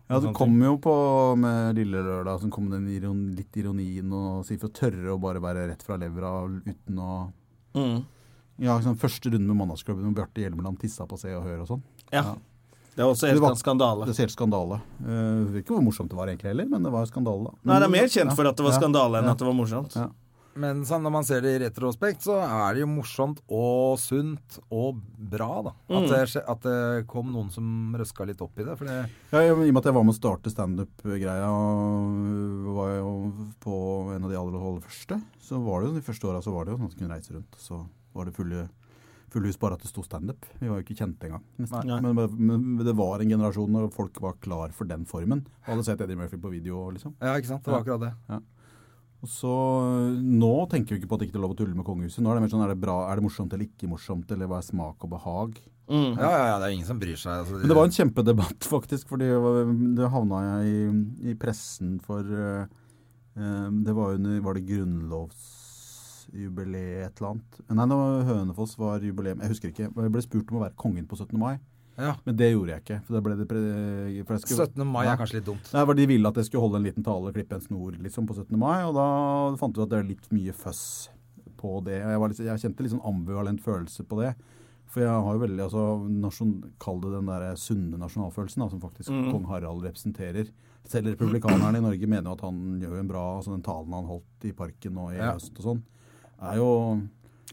Ja,
og
du
sånne
kom jo på med Lille Lørdag, som kom den iron, litt ironien og si for å tørre å bare være rett fra levra uten å
ting. Mm.
Ja, sånn første runde med Mandagsklubben hvor Bjarte Hjelmeland tissa på Se og Hør og sånn.
Ja.
Ja.
Det var også
Det
helt
var-
en skandale.
Det ser helt skandale. Uh, vet ikke hvor morsomt det var egentlig heller, men det var skandale, da.
Nei, det er mer kjent for at det var
Ja.
skandale enn
Ja.
at det var morsomt.
Ja.
Men sånn, når man ser det i retrospekt, så er det jo morsomt og sunt og bra, da.
Mm.
At det, skje- at det kom noen som røska litt opp i det. For det
Ja, I og med at jeg var med å starte standup-greia, og var jo på en av de aller aller første, så var det jo de første åra så var det jo sånn at du kunne reise rundt. Så var det fulle, fulle hus, bare at det sto standup. Vi var jo ikke kjente engang. nesten.
Nei.
Men, men, men det var en generasjon når folk var klar for den formen. Og hadde sett Eddie Murphy på video, liksom.
Ja, ikke sant? Det var akkurat det.
Og så Nå tenker vi ikke på at det ikke er lov å tulle med kongehuset. Nå er det mer sånn er det bra, er det morsomt eller ikke morsomt, eller hva er smak og behag?
Mm.
Ja, ja, ja, det er ingen som bryr seg. Altså,
Men det var en kjempedebatt, faktisk, fordi det havna jeg i, i pressen for eh, eh, Det var under Var det grunnlovsjubileet et eller annet? Nei, det var Hønefoss var jubileum. Jeg husker ikke. men Jeg ble spurt om å være kongen på 17. mai,
ja.
men det gjorde jeg ikke. For det ble det pre... For jeg skulle,
17. mai
Ja.
er kanskje litt dumt.
Nei, for De ville at jeg skulle holde en liten tale, klippe en snor liksom, på 17. mai, og da fant vi ut at det er litt mye føss på det. Og jeg, var litt, jeg kjente litt sånn ambivalent følelse på det. For jeg har jo veldig altså, nasjon, Kall det den der sunne nasjonalfølelsen da, som faktisk kong Harald representerer. Selv republikanerne i Norge mener jo at han gjør jo en bra altså Den talen han holdt i parken og i
Ja.
høst og sånn, er jo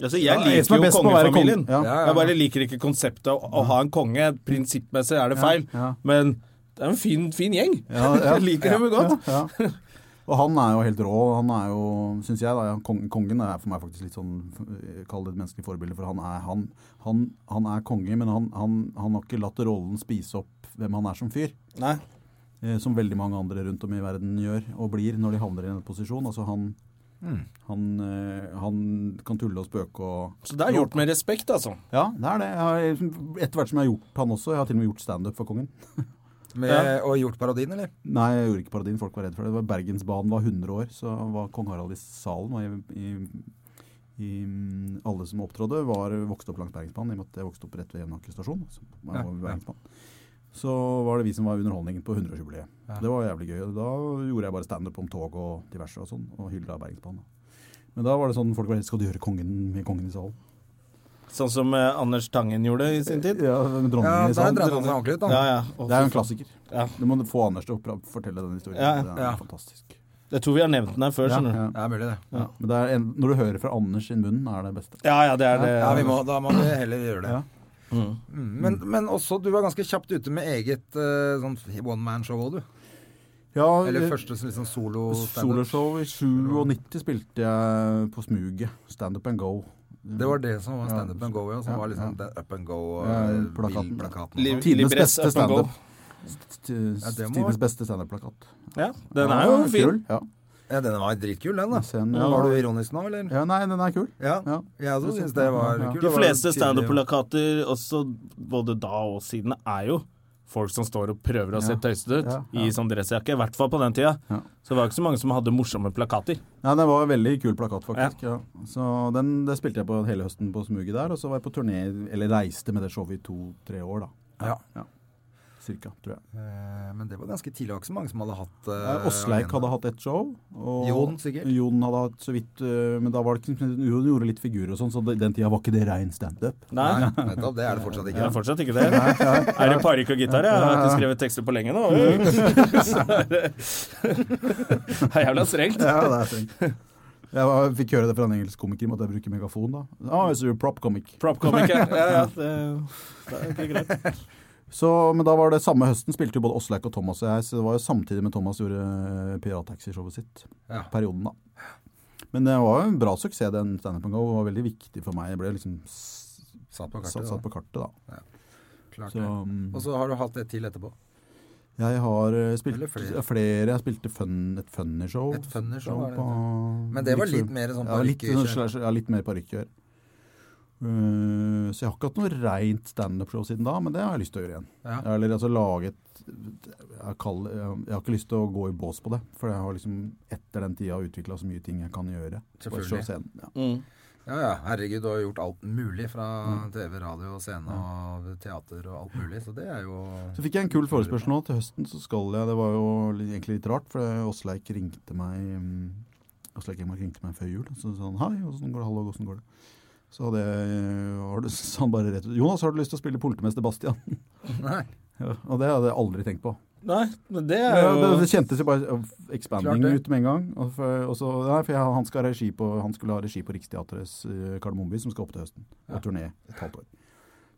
Altså,
Ja,
jeg
en
liker
som er
jo
best på å være
kongefamilien.
kong- ja.
Ja, ja, ja.
Jeg bare liker ikke konseptet å, å ha en konge. Prinsippmessig er det feil,
ja.
men det er en fin, fin gjeng.
Ja, ja.
Jeg liker dem jo godt.
Ja, ja. Og han er jo helt rå. Han er jo, synes jeg da, ja, kong, Kongen er for meg faktisk litt sånn eh, Kall det et menneskelig forbilde, for han er, han, han, han er konge, men han, han, han har ikke latt rollen spise opp hvem han er som fyr.
Nei.
eh, Som veldig mange andre rundt om i verden gjør og blir når de havner i en posisjon. Altså han,
Mm.
han, eh, han kan tulle og spøke og
Så det er gjort med respekt, altså.
Ja, det er det. Jeg har, liksom- etter hvert som jeg har gjort han også. Jeg har til og med gjort standup for kongen.
Med, Og gjort parodien, eller?
Nei, jeg gjorde ikke parodien. Folk var redd for det. det var Bergensbanen var 100 år, så var kong Harald i salen. Og i, i, i, alle som opptrådte, var vokste opp langs Bergensbanen, i og med at jeg vokste opp rett ved Jevnaker stasjon. Så, var jeg
Ja,
over
ja.
Bergensbanen. så var det vi som var underholdningen på 100-årsjubileet. Det var jævlig gøy. og Da gjorde jeg bare standup om tog og diverse og sånn, og hylla Bergensbanen. Men da var det sånn folk var helt Skal du gjøre kongen med kongen i salen?
Sånn som eh, Anders Tangen gjorde i sin tid.
Ja, med
Ja,
dronningen i
der
salen.
dreide han seg ordentlig ut, da.
Ja, ja.
Det er jo en klassiker.
Ja.
Du må få Anders til å oppra- fortelle den historien.
Ja, ja.
Det er
Ja.
fantastisk.
Jeg tror vi har nevnt den her før,
Ja,
skjønner du.
ja.
Det er mulig, det.
Ja. Men det er en, når du hører fra Anders sin munn, er det beste.
Ja, ja, det er det.
Ja, vi må, Da må vi heller gjøre det.
Ja.
Mm, Men, men også, du var ganske kjapt ute med eget eh, sånn one man-show òg, du.
Ja,
Eller
eh,
første liksom, solo
soloshow i 97 spilte jeg på smuget. Stand up and go.
Det var det som var
Ja.
Stand Up and Go, ja. Som
Ja,
var liksom
ja.
den Up and Go og
Ja,
eh,
plakaten.
bilplakaten.
Liv-
og sånt.
Tidenes
Libres
beste
up and go.
standup.
Ja, det må-
Tidenes beste standup-plakat.
Ja, den er jo
Ja,
fin.
kul, Ja.
Ja, den var dritkul, den, da.
Sen, ja,
Var du ironisk nå, eller?
ja, nei, den er kul.
Ja.
Ja.
Jeg også syns det var
Ja.
De
kult. Det var
fleste
tydelig-
standup-plakater også både da og siden er jo folk som står og prøver å se
Ja.
tøysete ut
Ja, ja.
i sånn dressjakke. I hvert fall på den tida.
Ja.
Så det var ikke så mange som hadde morsomme plakater.
Nei, det var en veldig kul plakat, faktisk. Ja. Så den det spilte jeg på hele høsten på smuget der, og så var jeg på turné, eller reiste med det showet i to-tre år, da.
Ja.
Cirka, tror jeg.
Eh, Men det var ganske tidlig. Det var ikke så mange som hadde hatt
Eh,
uh,
Åsleik hadde hatt ett show. Og
Jon, sikkert.
Jon hadde hatt så vidt eh, Men da var det ikke Jon gjorde litt figurer og sånn, så det- den tida var ikke det rein standup.
Nei,
Nei, nettopp. Det er det fortsatt
det
ikke.
er fortsatt ikke det. Er det parykk og gitar? Jeg har ikke skrevet tekster på lenge nå. Så er det det er jævla strengt.
Ja, det er strengt. Jeg var, fikk høre det fra en engelsk komiker om at jeg bruker megafon, da. Ah, so you're a prop comic.
Prop-komiker. Ja, ja, det, det er ikke greit.
Så, men da var det samme høsten spilte jo både Åsleik og Thomas og jeg, så det var jo samtidig med Thomas gjorde eh, pirattaxi-showet sitt.
Ja.
Perioden, da. Men det var jo en bra suksess, den Stand Up and Go. og var veldig viktig for meg. Jeg ble liksom s-
Satt på
satt,
kartet.
satt
da.
på kartet, da.
Klart
Så
det.
mm,
Og så har du hatt det til etterpå.
jeg har eh, spilt
Eller
flere.
flere.
Jeg spilte fun, et funny-show.
Et funny show, var det
på-
Men det var
liksom-
litt mer sånn
ja, litt,
parykkjør.
slash- ja, litt mer parykkjør. Eh, så jeg har ikke hatt noe reint standup-show siden da, men det har jeg lyst til å gjøre igjen.
Ja.
Eller altså lage et jeg, kall- jeg har ikke lyst til å gå i bås på det, for jeg har liksom etter den tida utvikla så mye ting jeg kan gjøre. på et
Selvfølgelig.
show scenen. Ja.
Ja, ja. Herregud, du har gjort alt mulig fra
Mm.
TV, radio, scene og teater og alt mulig. Så det er jo
Så fikk jeg en kul forespørsel nå. Til høsten så skal jeg Det var jo li- egentlig litt rart, for det- Åsleik ringte meg mm, Åsleik Engmark ringte meg før jul. Så sa han hei, åssen går det, hallo, åssen går det? Så hadde jeg, har du, sa han bare rett ut Jonas, har du lyst til å spille politimester Bastian?
Nei.
Ja, og det hadde jeg aldri tenkt på.
Nei, men det er
Ja, det,
jo
det kjentes jo bare uh, expanding
Klart det.
ut med en gang. Og for, og så, nei, for jeg, han, skal ha regi på, han skulle ha regi på Riksteatrets uh, Kardemommeby, som skal opp til høsten. Og turné et halvt år.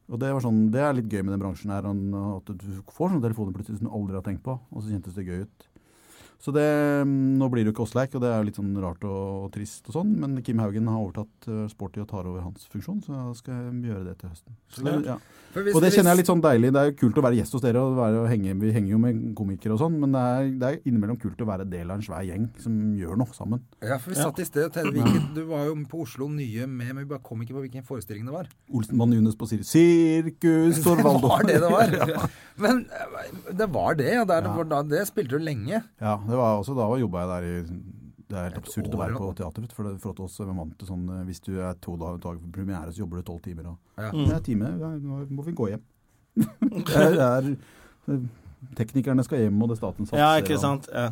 Og det, var sånn, det er litt gøy med den bransjen her, an- at du får sånne telefoner plutselig som du aldri har tenkt på, og så kjentes det gøy ut. Så det, mm, Nå blir det jo ikke Åsleik, og det er jo litt sånn rart og, og trist, og sånn, men Kim Haugen har overtatt uh, Sporty og tar over hans funksjon, så jeg skal gjøre det til høsten. Så det, ja.
For hvis
Og det
hvis-
kjenner jeg er litt sånn deilig. Det er jo kult å være gjest hos dere. Og være, og henge, vi henger jo med komikere og sånn, men det er, det er innimellom kult å være del av en svær gjeng som gjør noe sammen.
Ja, for vi satt i sted og tenkte hvilken- Du var jo på Oslo Nye med, men vi bare kom ikke på hvilken forestilling det var.
Olsenband Junes på Sir Sirkus
Det
Torvaldo.
var det det var. Men eh, det var det, ja. Det, er, for da- det spilte du lenge.
Ja, det var også da jobba jeg der i Det er helt absurd å
år,
være
ja.
på teater, vet du, for det forhold til oss vi er vant til sånn eh, Hvis du er to da- dager på premiere, så jobber du tolv timer, og
Ja.
det er time, ja, nå må vi gå hjem. det er, det er, teknikerne skal hjem, og det er staten satser.
Ja, ikke
og-
sant. Ja.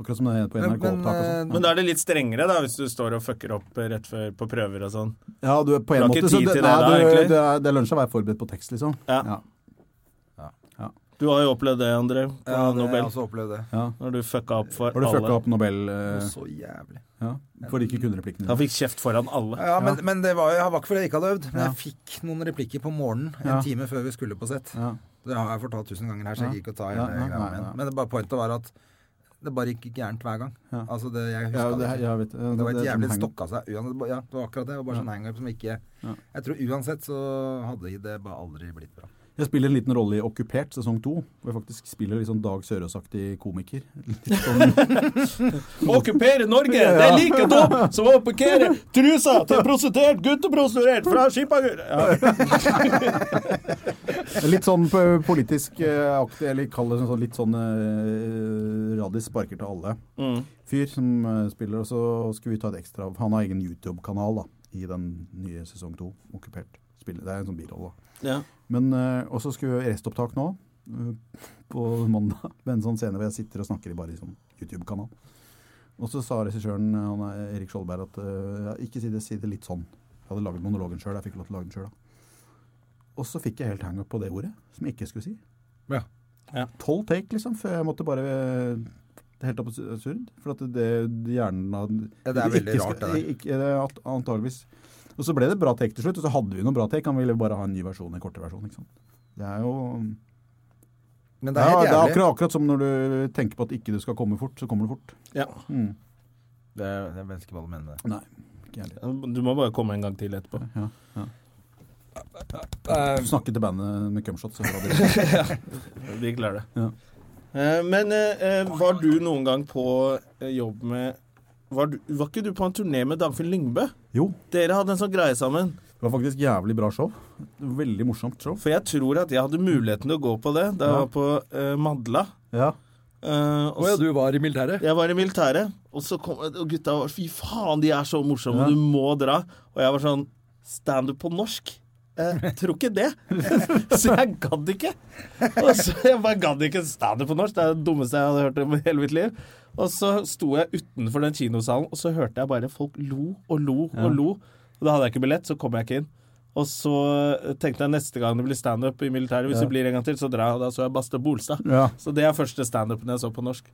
Akkurat som det er på
Men- men,
NRK-opptak. og sånn.
Men da er det litt strengere, da, hvis du står og fucker opp eh, rett før på prøver og sånn.
Ja, du, på
Du
en
har
måte
ikke
så
tid
det,
til det
nei,
da,
du,
egentlig?
det, er, det lønner seg å være forberedt på tekst, liksom.
Ja.
Ja.
Du har jo opplevd det, André, på
Ja, det altså- har jeg
Nobel.
også opplevd det.
Når du fucka opp for
Har du fucka
alle.
opp Nobel
Det var
eh,
Så jævlig.
ja, for de ikke kunne replikkene?
Han
dine?
fikk kjeft foran alle.
Ja, men, men det var, jo- det var ikke fordi jeg ikke hadde øvd. Men
Ja.
jeg fikk noen replikker på morgenen en
Ja.
time før vi skulle på sett.
Ja.
Det har jeg fortalt tusen ganger her, så jeg gidder ikke å ta hele
Ja, ja,
greia
nei,
igjen.
ja.
Men det bare pointet var at det bare gikk gærent hver gang.
Ja.
Altså, det, jeg
Ja,
huska
det,
det. ikke.
ja, jeg vet, ja,
Det var et
er
jævlig
sånn hang-
stokka seg. Uansett, ba- ja, det var akkurat det. Det var bare sånn hangup som ikke
Ja.
Jeg tror uansett så hadde det bare aldri blitt bra.
Jeg spiller en liten rolle i Okkupert sesong to, hvor jeg faktisk spiller litt sånn Dag Sørås-aktig komiker. Litt sånn,
Okkupere Norge! Det er like dumt som å okkupere trusa til prostituert gutteprostituert fra Skipagur! Ja.
litt sånn p- politisk eh, aktig, eller kall det sånn, sånn, litt sånn eh, Radis sparker til alle.
Mm.
Fyr som eh, spiller, og så skulle vi ta et ekstra Han har egen YouTube-kanal da, i den nye sesong to, Okkupert. Spiller. Det er en sånn birolle. da.
Ja.
Men eh, Og så skulle jeg restopptak nå, eh, på mandag, med en sånn scene hvor jeg sitter og snakker i bare i sånn YouTube-kanal. Og så sa regissøren, eh, han er Erik Skjoldberg, at eh, ja, ikke si det, si det litt sånn. Jeg hadde laget monologen sjøl, jeg fikk lov til å lage den sjøl, da. Og så fikk jeg helt hang-up på det ordet, som jeg ikke skulle si.
Ja.
Ja.
Tolv take, liksom, før jeg måtte bare eh, Det er helt absurd. For at det, det hjernen hadde-
Ja, det er veldig
ikke skal-
rart, det der.
Ikke, det er at- antageligvis. Og så ble det bra take til slutt, og så hadde vi noen bra take. Han ville bare ha en ny versjon, en kortere versjon. ikke sant? Det er jo
Men
Det
det
er,
er helt
det er
jævlig.
akkurat, akkurat som når du tenker på at ikke du skal komme fort, så kommer du fort.
Ja.
Mm.
Det, jeg vet ikke hva du mener med det.
Nei, ikke jeg heller.
Du må bare komme en gang til etterpå.
Ja, ja. Snakke til bandet med cumshot, så bra det
Vi klarer det.
Ja.
Eh, Men eh, eh, var du noen gang på eh, jobb med var, du, var ikke du på en turné med Dagfinn Lyngbø?
Jo,
Dere hadde en sånn greie sammen.
Det var faktisk jævlig bra show. Veldig morsomt show.
For jeg tror at jeg hadde muligheten til å gå på det da jeg
Ja.
var på eh, Madla.
Ja.
Eh, og
Å ja, du var i militæret?
Jeg var i militæret, og så kom og gutta var Fy faen, de er så morsomme,
Ja.
du må dra. Og jeg var sånn Standup på norsk? Jeg tror ikke det. Så jeg gadd ikke. Og så Jeg bare gadd ikke standup på norsk. Det er det dummeste jeg hadde hørt om i hele mitt liv. Og så sto jeg utenfor den kinosalen, og så hørte jeg bare folk lo og lo og lo. Og da hadde jeg ikke billett, så kom jeg ikke inn. Og så tenkte jeg neste gang det blir standup i militæret, hvis det blir en gang til, så drar jeg. Og da så jeg Baste Bolstad.
Ja.
Så det er første standupen jeg så på norsk.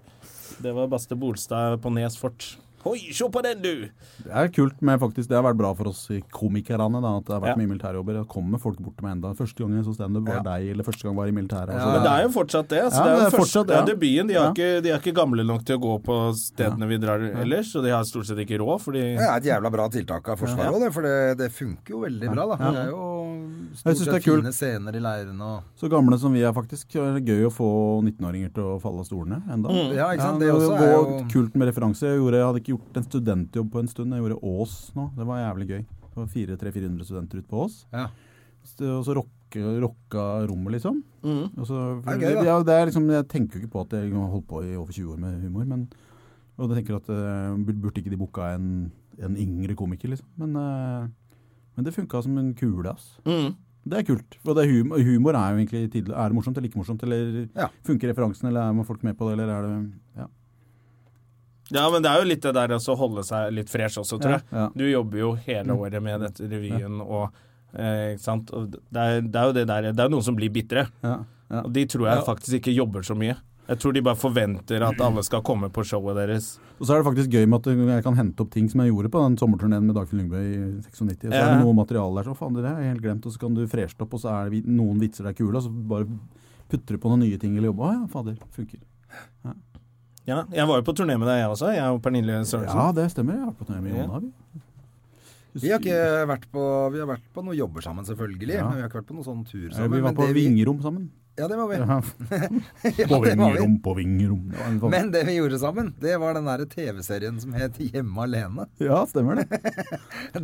Det var Baste Bolstad på Nes fort. Oi, se på den, du!
Det er kult med faktisk, det har vært bra for oss i komikerne da, at det har vært
Ja.
mye militærjobber. Det kommer folk bort til meg enda. Første gang jeg så standup var deg, eller første gang var jeg i militæret. altså.
Men det er jo fortsatt det. Altså,
Ja,
det er,
det er
jo
fortsatt,
fortsatt, det
ja.
er debuten. De er,
Ja.
ikke, de er ikke gamle nok til å gå på stedene vi drar ellers, og de har stort sett ikke råd, fordi
Det er et jævla bra tiltak av Forsvaret også, det, for det, det funker jo veldig bra. Da. Det er jo stort
Jeg synes det
sett
er kult.
fine scener i leirene og
Så gamle som vi er faktisk, er det gøy å få 19-åringer til å falle av stolene enda.
Mm. Ja, ikke sant? Det
Ja,
også er
var
jo
Kult med referanse. Jeg, gjorde, jeg hadde ikke gjort en studentjobb på en stund. Jeg gjorde Ås nå. Det var jævlig gøy. Det var 400-400 studenter ute på Ås.
Ja.
Så- Og så rocke, rocka rommet, liksom. Og så,
Det er gøy, da.
ja, det er liksom, jeg tenker jo ikke på at jeg har holdt på i over 20 år med humor, men og jeg tenker at eh, bur- Burde ikke de booka en, en yngre komiker, liksom? Men, eh, men det funka som en kule, ass.
Mm.
Det er kult. Og det er humor, humor er jo egentlig tidlig. Er det morsomt eller ikke morsomt? Eller
Ja.
funker referansen, eller er folk med på det, eller er det Ja.
Ja, men det er jo litt det der også å holde seg litt fresh også, tror jeg.
Ja. Mm.
Du jobber jo hele året med dette revyen og eh, ikke sant? Og det, er, det er jo det der Det er jo noen som blir bitre,
Ja, ja.
og de tror jeg faktisk ikke jobber så mye. Jeg tror de bare forventer at alle skal komme på showet deres.
Og så er det faktisk gøy med at jeg kan hente opp ting som jeg gjorde på den sommerturneen med Dagfinn Lyngbø i 96. Så er
Ja.
det noe materiale der som faen, det har jeg helt glemt, og så kan du freshe det opp, og så er det vi- noen vitser der kule, og så bare putter du på noen nye ting eller jobber. Å ja, fader, funker.
Ja, jeg var jo på turné med deg, jeg også. Jeg og Pernille Sørensen.
Ja, det stemmer. Jeg har vært på turné med Jonna, vi.
Vi har ikke vært på, vi har vært på noen jobber sammen, selvfølgelig.
Ja.
Men vi har ikke vært på noen sånn tur
Ja,
sammen.
vi var
men
på
det
Vingerom sammen.
Ja, det var vi.
Ja.
Ja,
På
det var vi.
Vingerom, på Vingerom. Det var en sånn-
Men det vi gjorde sammen, det var den der TV-serien som het Hjemme alene.
sånn- Ja, stemmer det.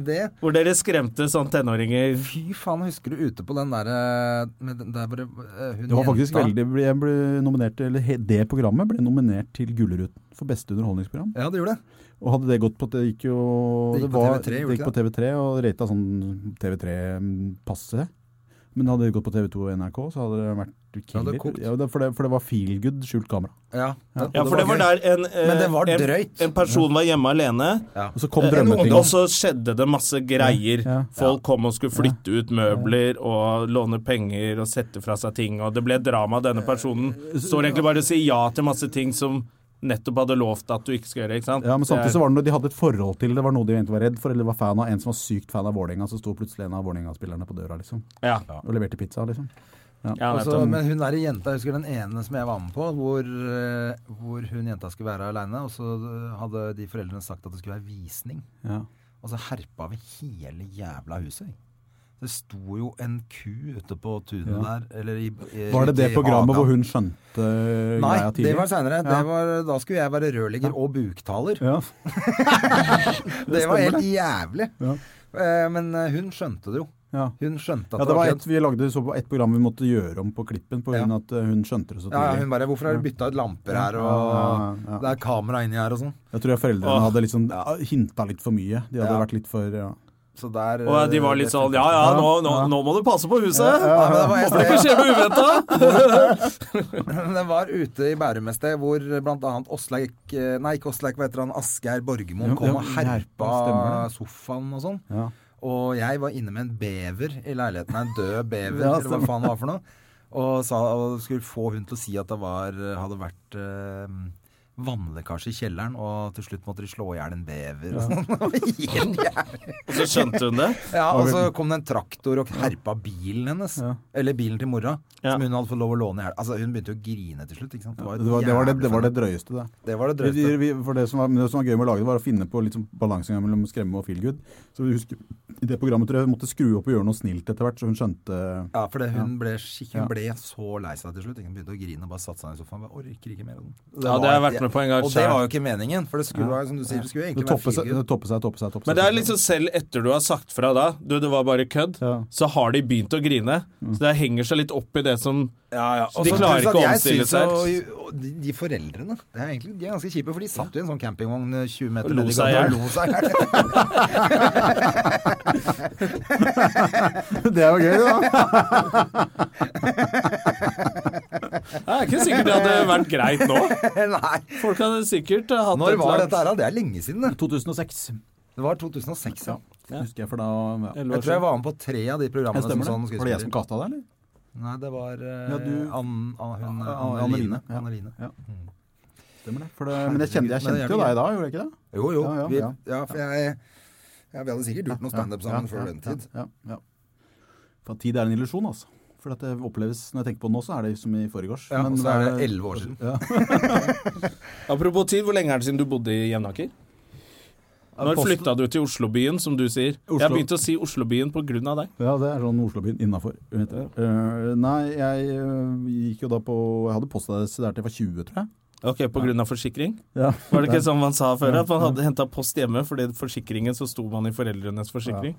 Det
Hvor dere skremte sånn tenåringer.
Fy faen, husker du ute på den derre der hvor det- eh, hun
Det var faktisk
jenta-
veldig Jeg ble nominert til, eller he- det programmet ble nominert til Gullruten for beste underholdningsprogram.
Ja, det gjorde det.
Og hadde det gått på Det gikk jo
Det gikk på
var,
TV3, gjorde
det gikk på TV3 og rata sånn TV3-passe. Men hadde det gått på TV2 og NRK, så hadde det vært killer.
hadde kokt.
Ja, det, for, det, for det var feel good skjult kamera.
Ja,
Ja, for det var der en, eh,
Men det var
en,
drøyt.
en person var hjemme alene, Eh,
Og så
Eh,
kom
en ungdom, og
drømmetingen.
så skjedde det masse greier.
Ja.
Folk kom og skulle flytte ut møbler og låne penger og sette fra seg ting, og det ble drama.
Eh,
Denne personen står egentlig bare og sier ja til masse ting som nettopp hadde lovt at du ikke skal gjøre. ikke sant?
Ja, men samtidig så var det noe de hadde et forhold til. Det var noe de egentlig var redd for, eller var fan av. En som var sykt fan av Vålerenga, så sto plutselig en av Vålerenga-spillerne på døra, liksom.
ja.
Og leverte pizza, liksom.
Ja,
Og så-
nettopp.
men hun der jenta, jeg husker den ene som jeg var med på, hvor, eh, hvor hun jenta skulle være aleine. Og så eh, hadde de foreldrene sagt at det skulle være visning.
Ja.
Og så Altså, herpa vi hele jævla huset. jeg. Det sto jo en ku ute på tunet
Ja.
der. Eller i, i,
Var det det
i hagen.
programmet hvor hun skjønte
Nei,
greia tidlig?
det var seinere.
Ja.
Da skulle jeg være rørlegger og buktaler.
Ja.
Det var helt jævlig.
Ja.
Eh, Men eh, hun skjønte det jo.
Ja.
Hun skjønte at
Ja, det var
kødd.
et, vi lagde så på et program vi måtte gjøre om på klippen, på grunn av at eh, hun skjønte det så
Ja, ja, hun
tidlig.
bare 'Hvorfor har du bytta ut lamper her, og
Ja, ja, ja.
det er kamera inni her', og sånn.
Jeg tror jeg foreldrene
Åh.
hadde liksom, ja, hinta litt for mye. De hadde
Ja.
vært litt for ja.
Så der eh,
Og de var litt sånn Ja, ja, nå, nå, nå må du passe på huset! Må
Nei, men det var,
det ikke
et
skje med uventa!
sted, det var ute i Bærum et sted hvor blant annet Åsleik eh, Nei, ikke Åsleik, hva heter han? Asgeir Borgermoen
Jo,
kom
jo,
og herpa
herpa,
sofaen og sånn.
Ja.
Og jeg var inne med en bever i leiligheten. En død bever,
Ja,
eller hva faen det var for noe. Og, sa, og skulle få hun til å si at det var, hadde vært eh, vannlekkasje i kjelleren, og til slutt måtte de slå i hjel en bever. Og sånn. Det var helt jævlig.
Og så skjønte hun det.
ja, og så kom det en traktor og herpa bilen hennes. Eller bilen til mora,
Ja.
som hun hadde fått lov å låne i hjel. Altså, hun begynte jo å grine til slutt. Ikke sant?
Det, var, det, var det, det var
jævlig
det drøyeste, det.
fenomen. det var det
Vi,
drøyeste.
vi, for det som, var, men det som var gøy med å lage det, var å finne på litt sånn balansegang mellom skremme og feel good. Så vi husker, I det programmet tror jeg vi måtte skru opp og gjøre noe snilt etter hvert, så hun skjønte
Ja, for det, hun, ble, skikk- hun ble så lei seg til slutt. Hun begynte å grine og bare satte seg i sofaen. Jeg orker ikke mer av den.
Ja, det har vært med
Og det var jo ikke meningen, for det skulle, være, som du sier, det skulle
Det
egentlig være
topper seg,
fire
det topper seg, topper seg. Topper
Men
seg.
det er liksom selv etter du har sagt fra da, du, det var bare kødd,
Ja.
så har de begynt å grine. Så det henger seg litt opp i det som
Ja, ja.
de klarer ikke å omstille seg.
De, de foreldrene det er egentlig, de er ganske kjipe, for de satt jo i en sånn campingvogn eh, 20 meter
Og lo
ned i
seg
gata
i
og lo seg i hjel.
det er jo gøy, da.
Det er ikke sikkert det hadde vært greit nå.
Nei.
Folk hadde sikkert hatt
Når
et
var
eller
dette her? da? Det er lenge siden,
sånn-
det.
2006.
Det var 2006, ja.
Husker jeg, for da ja.
annet.
Jeg tror jeg var med på tre av de
Det
programmene som
stemmer det.
sånn
Var det jeg som
skuespiller.
kasta deg, eller?
Nei, det var eh,
Ja, du-
Ann, Ann, hun,
Ann-
Anne,
Anne
Line.
Line, ja.
Anne Line.
Ja. Stemmer det. For det men jeg kjente,
Men det er
jeg kjente jo
jævlig
deg da, gjorde jeg ikke det?
Jo, jo.
Ja, ja,
vi,
ja.
ja for jeg, ja, vi hadde sikkert gjort noe standup sammen før den tid.
Ja, ja, ja. For at tid er en illusjon, altså. For at det oppleves, når jeg tenker på det nå, så er det som i forgårs.
Ja,
Men
og så
hva
er det 11 år siden.
Ja.
Apropos tid, hvor lenge er det siden du bodde i Jevnaker? Når
Posten-
flytta du til Oslobyen, som du sier?
Oslo.
Jeg begynte å si Oslobyen på grunn av deg.
Ja, det er sånn Oslobyen innafor. Ja. nei, jeg eh, gikk jo da på Jeg hadde postadresse der til jeg var 20, tror jeg.
Ok, på grunn av forsikring?
Ja.
Var det ikke sånn man sa før? At man hadde henta post hjemme fordi forsikringen, så sto man i foreldrenes forsikring?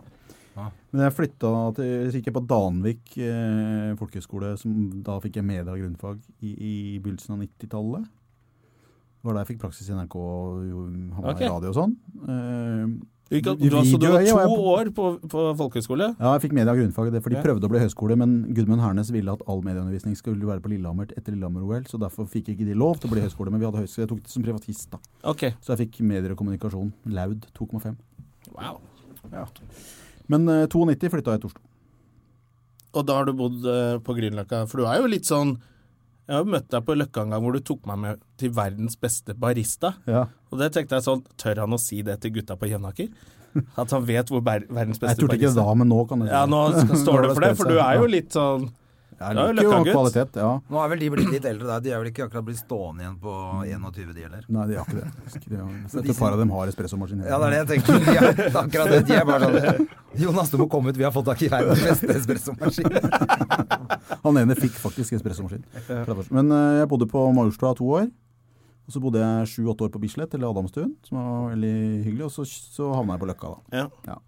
Men jeg flytta til Så gikk jeg på Danvik eh, folkehøgskole, som da fikk jeg media og grunnfag i, i begynnelsen av 90-tallet. Det var da jeg fikk praksis i NRK og jo, havna
Ok.
i radio og sånn. Eh,
Du, gikk-
I
du, altså, du
video,
var
jeg var
to
på-
år på, på folkehøyskole?
Ja, jeg fikk media- og grunnfag, det, for de
Ja.
prøvde å bli høyskole, men Gudmund Hernes ville at all medieundervisning skulle være på Lillehammer etter Lillehammer-OL, så derfor fikk ikke de lov til å bli høyskole, men vi hadde høyskole. Jeg tok det som privatist, da.
Ok.
Så jeg fikk medier og kommunikasjon, laud 2,5.
Wow.
Men eh, 92 flytta jeg til Oslo.
Og da har du bodd eh, på Grünerløkka, for du er jo litt sånn Jeg har jo møtt deg på Løkka en gang hvor du tok meg med til verdens beste barista.
Ja.
Og det tenkte jeg sånn, tør han å si det til gutta på Jevnaker? At han vet hvor ber verdens
Jeg
beste
turte ikke det da, men nå kan jeg si
Ja, nå skal- står det for det,
Nå har spredt
for
seg.
du er jo
Ja.
litt sånn
Jeg
du er jo
liker jo
Løkka-gutt.
kvalitet, ja.
Nå er vel de blitt litt eldre der. De er vel ikke akkurat blitt stående igjen på 21, de heller.
Nei, de har ikke det. Faktisk. De har- Et par av dem har espressomaskin.
Ja, det er det jeg tenker. De er, det er akkurat det. De er bare sånn Jonas, du må komme ut. Vi har fått tak i verdens beste espressomaskin.
Han ene fikk faktisk espressomaskin. fra først. Men eh, jeg bodde på Majorstua to år. Og så bodde jeg sju-åtte år på Bislett, eller Adamstuen, som var veldig hyggelig. Og så, så havna jeg på Løkka, da.
ja.
Ja.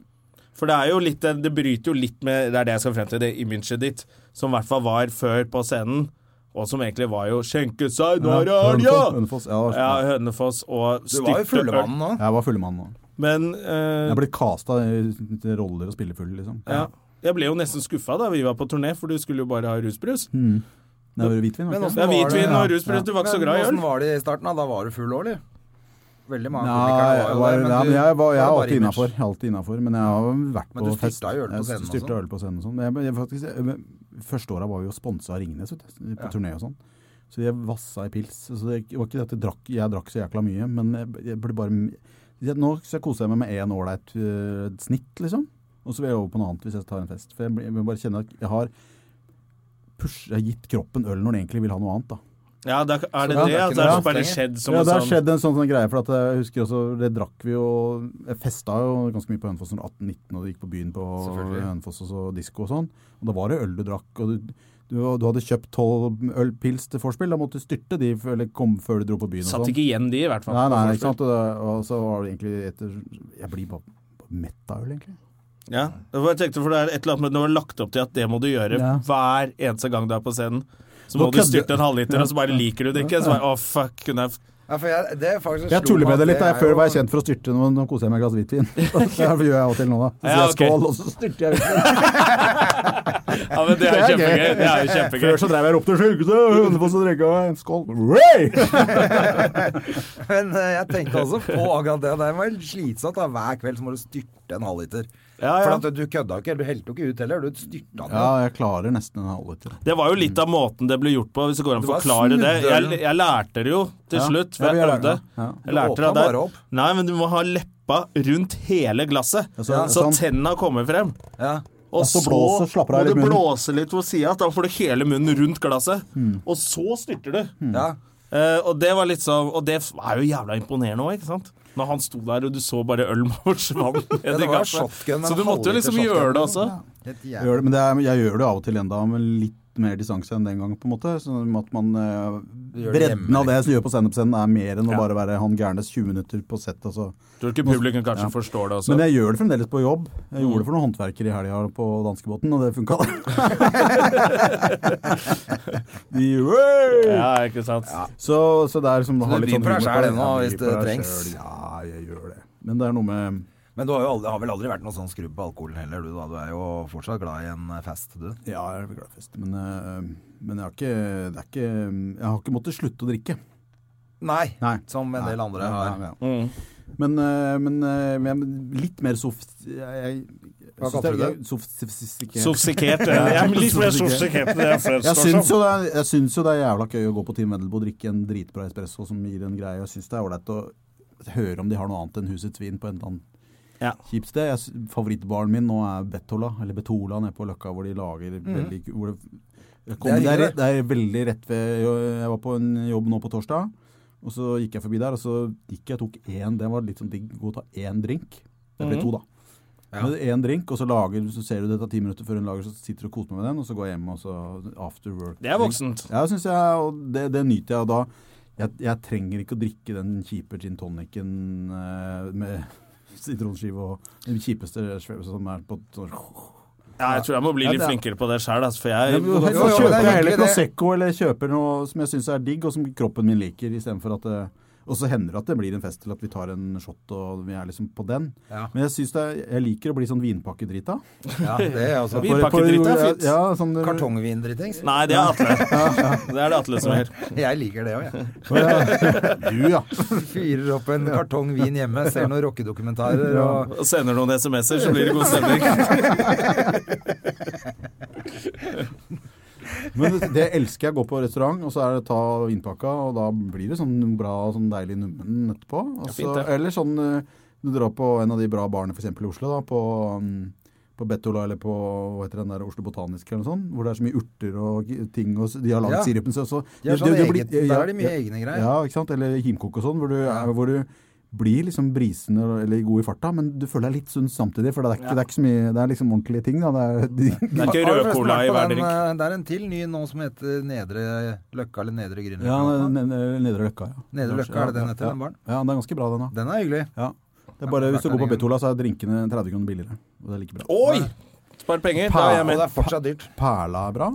For det er jo litt Det bryter jo litt med Det er det jeg skal frem til, det imaget ditt, som i hvert fall var før på scenen, og som egentlig var jo 'Skjenke seg, nå er det helg',
Hønefoss,
ja!
Hønefoss, ja,
Ja, Hønefoss og
Du
styrte
var jo
øl.
fullemannen nå.
Jeg var fullmann nå.
Men eh,
Jeg er blitt casta til roller og spillefull, liksom.
ja. Jeg ble jo nesten skuffa da vi var på turné, for du skulle jo bare ha rusbrus.
Det var hvitvin, var
Men
det
også-
ikke?
Det er hvitvin
Ja,
og rusbrus, du var ikke så glad i
Men
øl.
hvordan var det i starten? Da Da var du full òg, eller? Veldig mange
Nei,
komikere
jeg,
var
var,
jo det.
ja,
du-
men jeg, var, jeg
det
er
bare
alltid
image.
innafor. Alltid innafor. Men jeg har vært
Men
på
du
fest.
styrta jo øl på scenen og
jeg styrta
sånn.
øl på scenen og sånn. Men Jeg, jeg, faktisk, jeg, første året var vi jo sponsa av Ringnes vet du, på turné og sånn. Så jeg vassa i pils. Så det var ikke det at jeg drakk, jeg drakk så jækla mye, men jeg, jeg ble bare jeg, Nå skal jeg kose meg med én ålreit øh, snitt, liksom. Og så vil jeg over på noe annet hvis jeg tar en fest. For jeg, blir- jeg bare kjenner at jeg har push, jeg har gitt kroppen øl når den egentlig vil ha noe annet. da.
Ja, da, er det
Så det er
det? At
ikke noe
det har
annet
bare
lenger.
skjedd som
ja,
en
det har
sånn
skjedd en sånn, sånn greie. For at jeg husker også, det drakk vi jo Jeg festa jo ganske mye på Hønefoss når 18-19 og gikk på byen på
Selvfølgelig.
Hønefoss og så disko og sånn. Og da var det øl du drakk. Og du, du, du hadde kjøpt tolv ølpils til vorspiel, da måtte du styrte de f- eller kom før du dro på byen og
Satt
sånn.
ikke igjen de, i hvert fall.
Nei, nei, ikke sant. Og, det- og så var det egentlig etter Jeg blir bare, bare mett av øl, egentlig.
Ja, det var, jeg tenkte for det er et eller annet, men det var lagt opp til at det må du gjøre
Ja.
hver eneste gang du er på scenen. Så må
Nå
du
kødder-
styrte en halvliter, og så bare liker du det ikke. Så bare, å fuck, kunne jeg... f-
Ja, for jeg, det er faktisk
Jeg
slo meg
tuller
at
med det litt. da. Jeg
er
Før
jo-
var jeg kjent for å styrte, nå, nå koser jeg meg med et glass hvitvin. Det gjør jeg av og til nå, da. Så sier
Ja,
jeg
ok.
skål, og så styrter jeg.
Ja, men det er jo
Det er gøy.
kjempegøy. Det er jo kjempegøy.
Før så drev jeg og ropte 'sjukehuset', Hønefoss og drikka en skål. Ray!
Men eh, jeg tenkte også på akkurat det. Det var slitsomt. da Hver kveld så må du styrte en halvliter.
Ja,
For
ja.
at du kødda ikke, du helte jo ikke ut heller. Du styrta den.
Ja, jeg klarer nesten en halvliter.
Det var jo litt av måten det ble gjort på, hvis det går an å
Det var
forklare det.
snudølen.
Jeg, jeg lærte det jo til
Ja.
slutt,
Ja,
for
vi
jeg øvde.
har lært det. Ja.
Jeg lærte
Du
det
åpna
av deg.
bare opp.
Nei, men du må ha leppa rundt hele glasset, så,
så- sånn.
tenna kommer frem.
Ja.
Og
så blåser- slapper av
må
litt
du
munnen.
blåse litt på sida, da får du hele munnen rundt glasset. Og så styrter du.
Ja.
Eh, og det var litt sånn Og det er jo jævla imponerende òg, ikke sant? Når han sto der, og du så bare øl forsvant
Ja,
ned i
det var
glasset.
shotgun, en
Så du måtte jo
halvliter
liksom
shotgun.
gjøre det også.
Helt
Jeg gjør
jævlig.
det, men det er, jeg gjør det av og til enda, men litt litt mer distanse enn den gang, på en måte. Sånn at man eh,
Gjør det hjemme,
Bredden av det som gjør på standup-scenen, er mer enn å
liksom. Ja.
bare være han gærnes 20 minutter på sett. Altså.
Tror ikke publikum kanskje
Ja.
forstår det også.
Men jeg gjør det fremdeles på jobb. Jeg
Mm.
gjorde det for noen håndverkere i helga på danskebåten, og det funka. De, «Oi!»
ja, ikke sant?
så, så det er som
Så
har
du
litt sånn
blir på deg
humor
selv
det.
ennå,
Ja,
hvis
blir
det
på deg
trengs.
selv. Ja, jeg gjør det. Men det er noe med
Men du har, jo aldri, har vel aldri vært noe sånn skrubb på alkoholen heller, du da. Du er jo fortsatt glad i en eh, fest, du.
Ja, jeg er glad i fest, men, eh, men jeg, har ikke, det er ikke, jeg har ikke måttet slutte å drikke.
Nei.
Nei.
Som en del andre
Ja,
har.
ja, ja. Men, eh, men, eh, men litt mer soft... Jeg, jeg,
Hva
syns
kalte du
jeg-
det?
Sofistikert.
Sofistikert. Jeg er litt mer sofistikert enn det jeg
Jeg
fremstår
syns,
som.
jo det er, jeg syns jo det er jævla gøy å gå på Team Eddelbo og drikke en dritbra espresso som gir en greie. Jeg syns det er ålreit å høre om de har noe annet enn Husets Vin på en eller annen
Ja.
kjipt sted. Jeg sy- Favorittbaren min nå er Betola, eller Betola nede på Løkka, hvor de lager veldig ku- hvor det, jeg kom,
Mm. Det er
det, er,
hyggelig.
rett- det er veldig rett ved Jeg var på en jobb nå på torsdag, og så gikk jeg forbi der, og så gikk jeg og tok én Det var litt sånn digg å ta én drink. Det ble to, da.
Mhm. Ja.
Med én drink, og så, lager, så ser du det tar ti minutter før hun lager, så sitter du og koser meg med den, og så går jeg hjem og så after work.
Det er voksent.
Ja, synes jeg, og det, det nyter jeg. Og da jeg, jeg trenger ikke å drikke den kjipe gin tonicen eh, med sitronskive og den kjipeste sveve som er på
Ja, jeg tror jeg må bli
Ja,
litt
det er-
flinkere på det sjøl, altså, for
Jeg
jeg
kjøper
jo, det er
jeg heller
hyggelig, det.
Prosecco eller kjøper noe som jeg syns er digg, og som kroppen min liker, istedenfor at det og så hender det at det blir en fest til at vi tar en shot og vi er liksom på den.
Ja.
Men jeg synes det er, jeg liker å bli sånn vinpakkedrita.
Ja, det er altså.
Vi- Vinpakkedrita er fint.
Ja, sånn,
Kartongvindritings.
Nei, det er Atle. Det er det Atle som gjør.
Jeg liker det òg, jeg.
Du, ja.
Fyrer opp en kartong vin hjemme, ser noen rockedokumentarer og
Og sender noen SMS-er, så blir det god stemning.
Men det- det elsker jeg å gå på restaurant, og så er det ta vinpakka, og da blir det sånn bra, sånn deilig nummen etterpå. Og
fint,
så-
det.
eller sånn eh, du drar på en av de bra barene f.eks. i Oslo, da, på, mm, på Bettola eller på hva heter den der Oslo Botaniske eller noe sånt, hvor det er så mye urter og g- ting, og s- de har lagd
Ja.
sirupen så, så
De har
det- det-
sånn
det blir-
eget, der er de mye
ja,
egne greier.
Ja, ikke sant? Eller himkok og sånn, hvor du, er- hvor du blir liksom brisende eller god i farta, men du føler deg litt sunn samtidig, for det er ikke, det er ikke så mye Det er liksom ordentlige ting, da. Det er, de,
Det er ikke
Har du
rød
forresten
cola
vært
i
på
hver
den,
drink.
eh, Det er en til ny nå som heter Nedre Løkka eller Nedre Grünerløkka.
ja,
eller noe.
ne- ne- Nedre Løkka, ja.
Nedre Løkka, er det den heter,
Ja.
den baren?
Ja, den er ganske bra, den da.
Den er hyggelig.
Ja. Det er bare, hvis du går på Betola, så er drinkene 30 kroner billigere. Og det er like bra.
Oi! Spar penger. Da er jeg
Og
med.
det er fortsatt dyrt.
Perla er bra.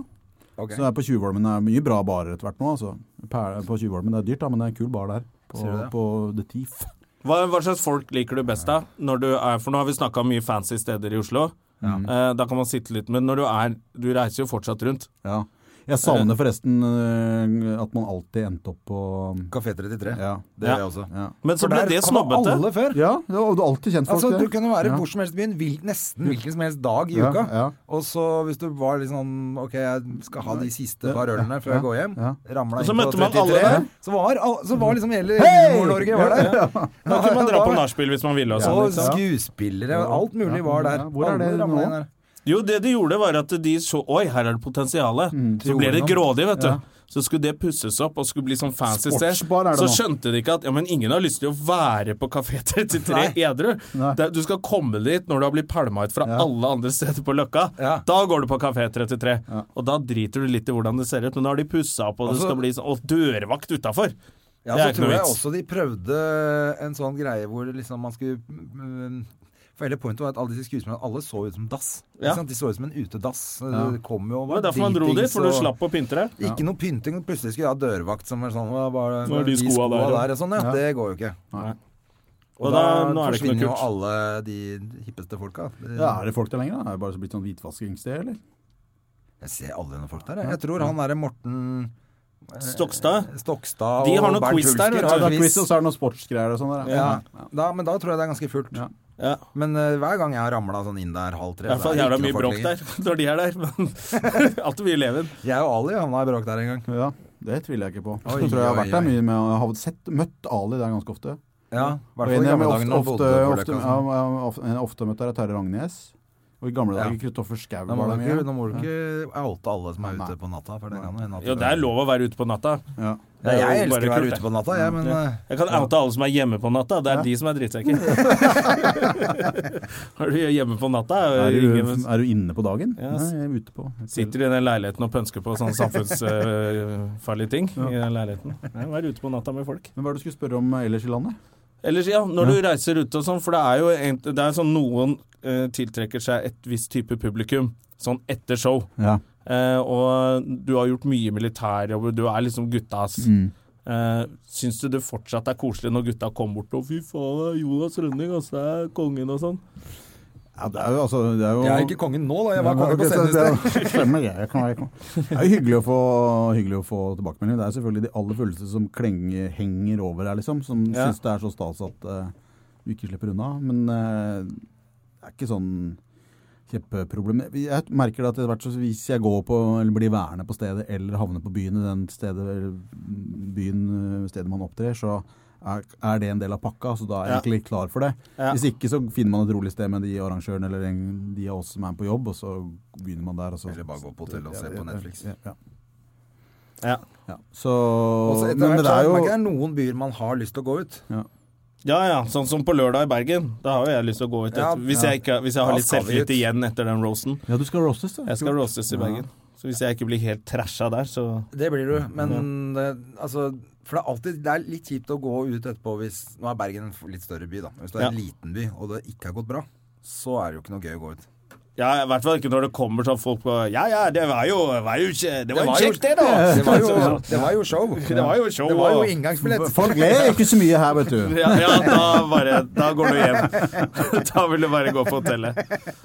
Ok.
Så er på Tjuvholmen det er mye bra barer etter hvert nå. Altså. Perla på Tjuvholmen det er dyrt, da, men det er en kul bar der. På,
Sier du det?
på The Thief.
Hva, hva slags folk liker du best da? Når du er, for nå har vi snakka om mye fancy steder i Oslo. Eh, da kan man sitte litt, men når du er Du reiser jo fortsatt rundt.
Ja. Jeg
Eh.
savner forresten øh, at man alltid endte opp på
Kafé 33.
Ja.
Det
Ja.
gjør jeg også.
ja.
Men så
For
ble
der
det
kom
snobbete.
Alle før.
ja det var- og du har alltid kjent folk.
Altså,
det.
du kunne være
Ja.
hvor som helst i byen, hvil, nesten hvilken som helst dag i
Ja,
uka.
ja.
Og så hvis du var litt sånn Ok, jeg skal ha de siste par ølene før jeg går hjem.
ja.
Ramla
Og
inn
så
på
møtte man
33.
alle.
Så var, al- så var liksom hele
Hei!
Nord-Norge var der.
Da kunne man dra
Da-
på nachspiel hvis man ville. Og
Og
sånn, ikke sant?
skuespillere og alt mulig
Ja,
var der.
ja. Hvor er
Alle
det
ramlet
nå?
inn der.
Jo, det de gjorde, var at de så Oi, her er det potensial. så ble det
gjorde Mm, de
grådig, vet du.
Ja.
Så skulle det pusses opp og skulle bli sånn fancy sted.
Sportsbar er det
Så
nå.
skjønte de ikke at ja, men ingen har lyst til å være på Kafé 33
Nei.
edru.
Nei.
Det- Du skal komme dit når du har blitt pælma ut fra alle andre steder på Løkka.
Ja.
Da går du på Kafé 33. Og da driter du litt i hvordan det ser ut, men nå har de pussa opp, og det
Altså-
skal bli sånn Og dørvakt utafor!
Ja,
Det er
så
ikke
tror
noe
jeg
vits.
også de prøvde en sånn greie hvor liksom man skulle mm, For hele pointet var at alle disse skuespillerne Alle så ut som dass. Ikke
Ja.
sant? De så ut som en utedass. Det kom jo og
Det
var
var derfor man dro dit,
dritings
for du
og-
slapp å pynte deg.
Ikke noe pynting. og Plutselig skulle jeg ha dørvakt som var sånn Hva var det
Nå er de skoa der,
der,
ja.
og sånn? Ja,
Ja.
Det går jo ikke.
Og da, nå er det ikke
forsvinner
noe
jo
kult.
alle de hippeste folka. Det-
Ja, er det folk der lenger? da? Er det bare blitt sånn hvitvaskingssted, eller?
Jeg ser aldri noen folk der. Jeg, jeg tror han derre Morten Eh,
Stokstad?
Stokstad
De har
og
noe
Bernt
quiz der, vet
Hulsker
du.
har
Ja, det er
quiz.
quiz, og så er det noen sportsgreier og sånn der.
Ja, da, men da tror jeg det er ganske fullt.
Ja.
Ja.
Men eh, hver gang jeg har ramla sånn inn der halv tre
I hvert fall
så er
jævla
det ikke
mye
noe
bråk
folk lenger.
der når de er der, men alltid mye leven.
Jeg og Ali havna i bråk der en gang.
Ja, det tviler jeg ikke på.
Oi,
jeg tror jeg har
oi,
vært der
oi.
mye med Jeg har sett, møtt Ali der ganske ofte.
Ja, i hvert
Og
fall i
en jeg
gamle
ofte,
dager når han
ofte,
bodde på
ofte,
Løkka. og
ja,
sånn.
ja, ofte, en jeg ofte møtt der er Terje Rognes. Og i gamle dager
Ja.
Kristoffer Schau
Da må
var
du
det
ikke, da
mye.
må du ikke oute alle som er
Nei.
ute på natta. For det kan jo hende at
Jo, det er lov å være ute på natta.
Ja, jeg
Ja.
Det er jo
elsker å
bare
være
kult,
ute på natta, jeg, men eh,
Jeg kan oute alle som er hjemme på natta. Det er de som er drittsekker. Har du hjemme på natta?
Er,
Ringer,
du, er du inne på dagen?
Ja,
Nei,
s-
jeg er ute på. Jeg ser-
sitter i den leiligheten og pønsker på sånne samfunnsfarlige ting. I den leiligheten. Ja, Vær ute på natta med folk.
Men hva er det du skulle spørre om ellers i landet?
Ellers, ja, når du reiser ut og sånn, for det er jo en, det er sånn noen eh, tiltrekker seg et visst type publikum, sånn etter show.
Ja.
Eh, og du har gjort mye militærjobb, du er liksom guttas.
Mm.
Eh, syns du det fortsatt er koselig når gutta kommer bort og 'fy faen, det er Jonas Rønning, altså, det er kongen' og sånn?
Ja, det er jo altså det er jo,
jeg er ikke kongen nå, da. Jeg var
Ja,
konge
ok,
på
så
scenen i
det er
sted.
jo- Stemmer, jeg kan være konge. Det er jo hyggelig å få, hyggelig å få tilbakemelding. Det er selvfølgelig de aller fulleste som klenger, henger over her, liksom. Som
Ja.
syns det er så stas at eh, du ikke slipper unna. Men eh, det er ikke sånn kjempeproblem. Jeg merker det at etter hvert så hvis jeg går på, eller blir værende på stedet, eller havner på byen i den stedet, byen, eh, stedet man opptrer, så er, er det en del av pakka, så da er jeg
Ja.
egentlig klar for det.
Ja.
Hvis ikke så finner man et rolig sted med de arrangørene eller en- de av oss som er på jobb, og så begynner man der. Og så,
Eller bare gå på hotellet og se
Ja,
på Netflix.
Ja, ja.
Ja.
ja. Så,
Og så
men
etter hvert
det
så
er jo
merker jeg noen byer man har lyst til å gå ut.
ja ja, sånn som på lørdag i Bergen. Da har jo jeg lyst til å gå ut.
Ja,
etter- hvis,
ja.
jeg ikke, hvis jeg har
Da
litt
skal vi ut.
selvtillit igjen etter den roasten.
Ja, du skal roastes, da.
Jeg skal roastes i
Ja.
Bergen. Så hvis jeg ikke blir helt trasha der, så
Det blir du, men det, altså For det er alltid det er litt kjipt å gå ut etterpå hvis Nå er Bergen en f- litt større by, da. Hvis du er en
Ja.
liten by, og det ikke har gått bra, så er det jo ikke noe gøy å gå ut.
Ja, i hvert fall ikke når det kommer sånn folk på Ja ja, det var jo, var jo, kje- det var jo
var jo-
kjekt, det, da!
Det var jo, det var jo show.
Det var jo show.
Det var jo
og-
inngangsbillett.
Folk ler ikke så mye her, vet du.
ja, ja, da bare Da går du hjem. da vil du bare gå på hotellet.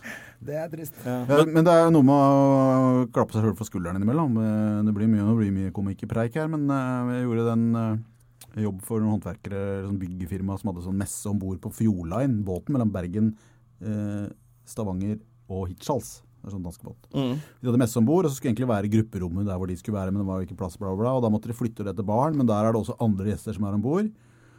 Det er trist.
Ja, men det er jo noe med å klappe seg sjøl for skulderen innimellom. Eh, Det blir mye, det blir mye komikerpreik her, men eh, jeg gjorde den eh, jobb for noen håndverkere, eller sånn byggefirma, som hadde sånn messe om bord på Fjordline, båten mellom Bergen, eh, Stavanger og Hirtshals. Det er sånn danskebåt. De hadde messe om bord, og så skulle egentlig være i grupperommet der hvor de skulle være, men det var jo ikke plass, bla, bla, bla. Og da måtte de flytte det til baren, men der er det også andre gjester som er om bord.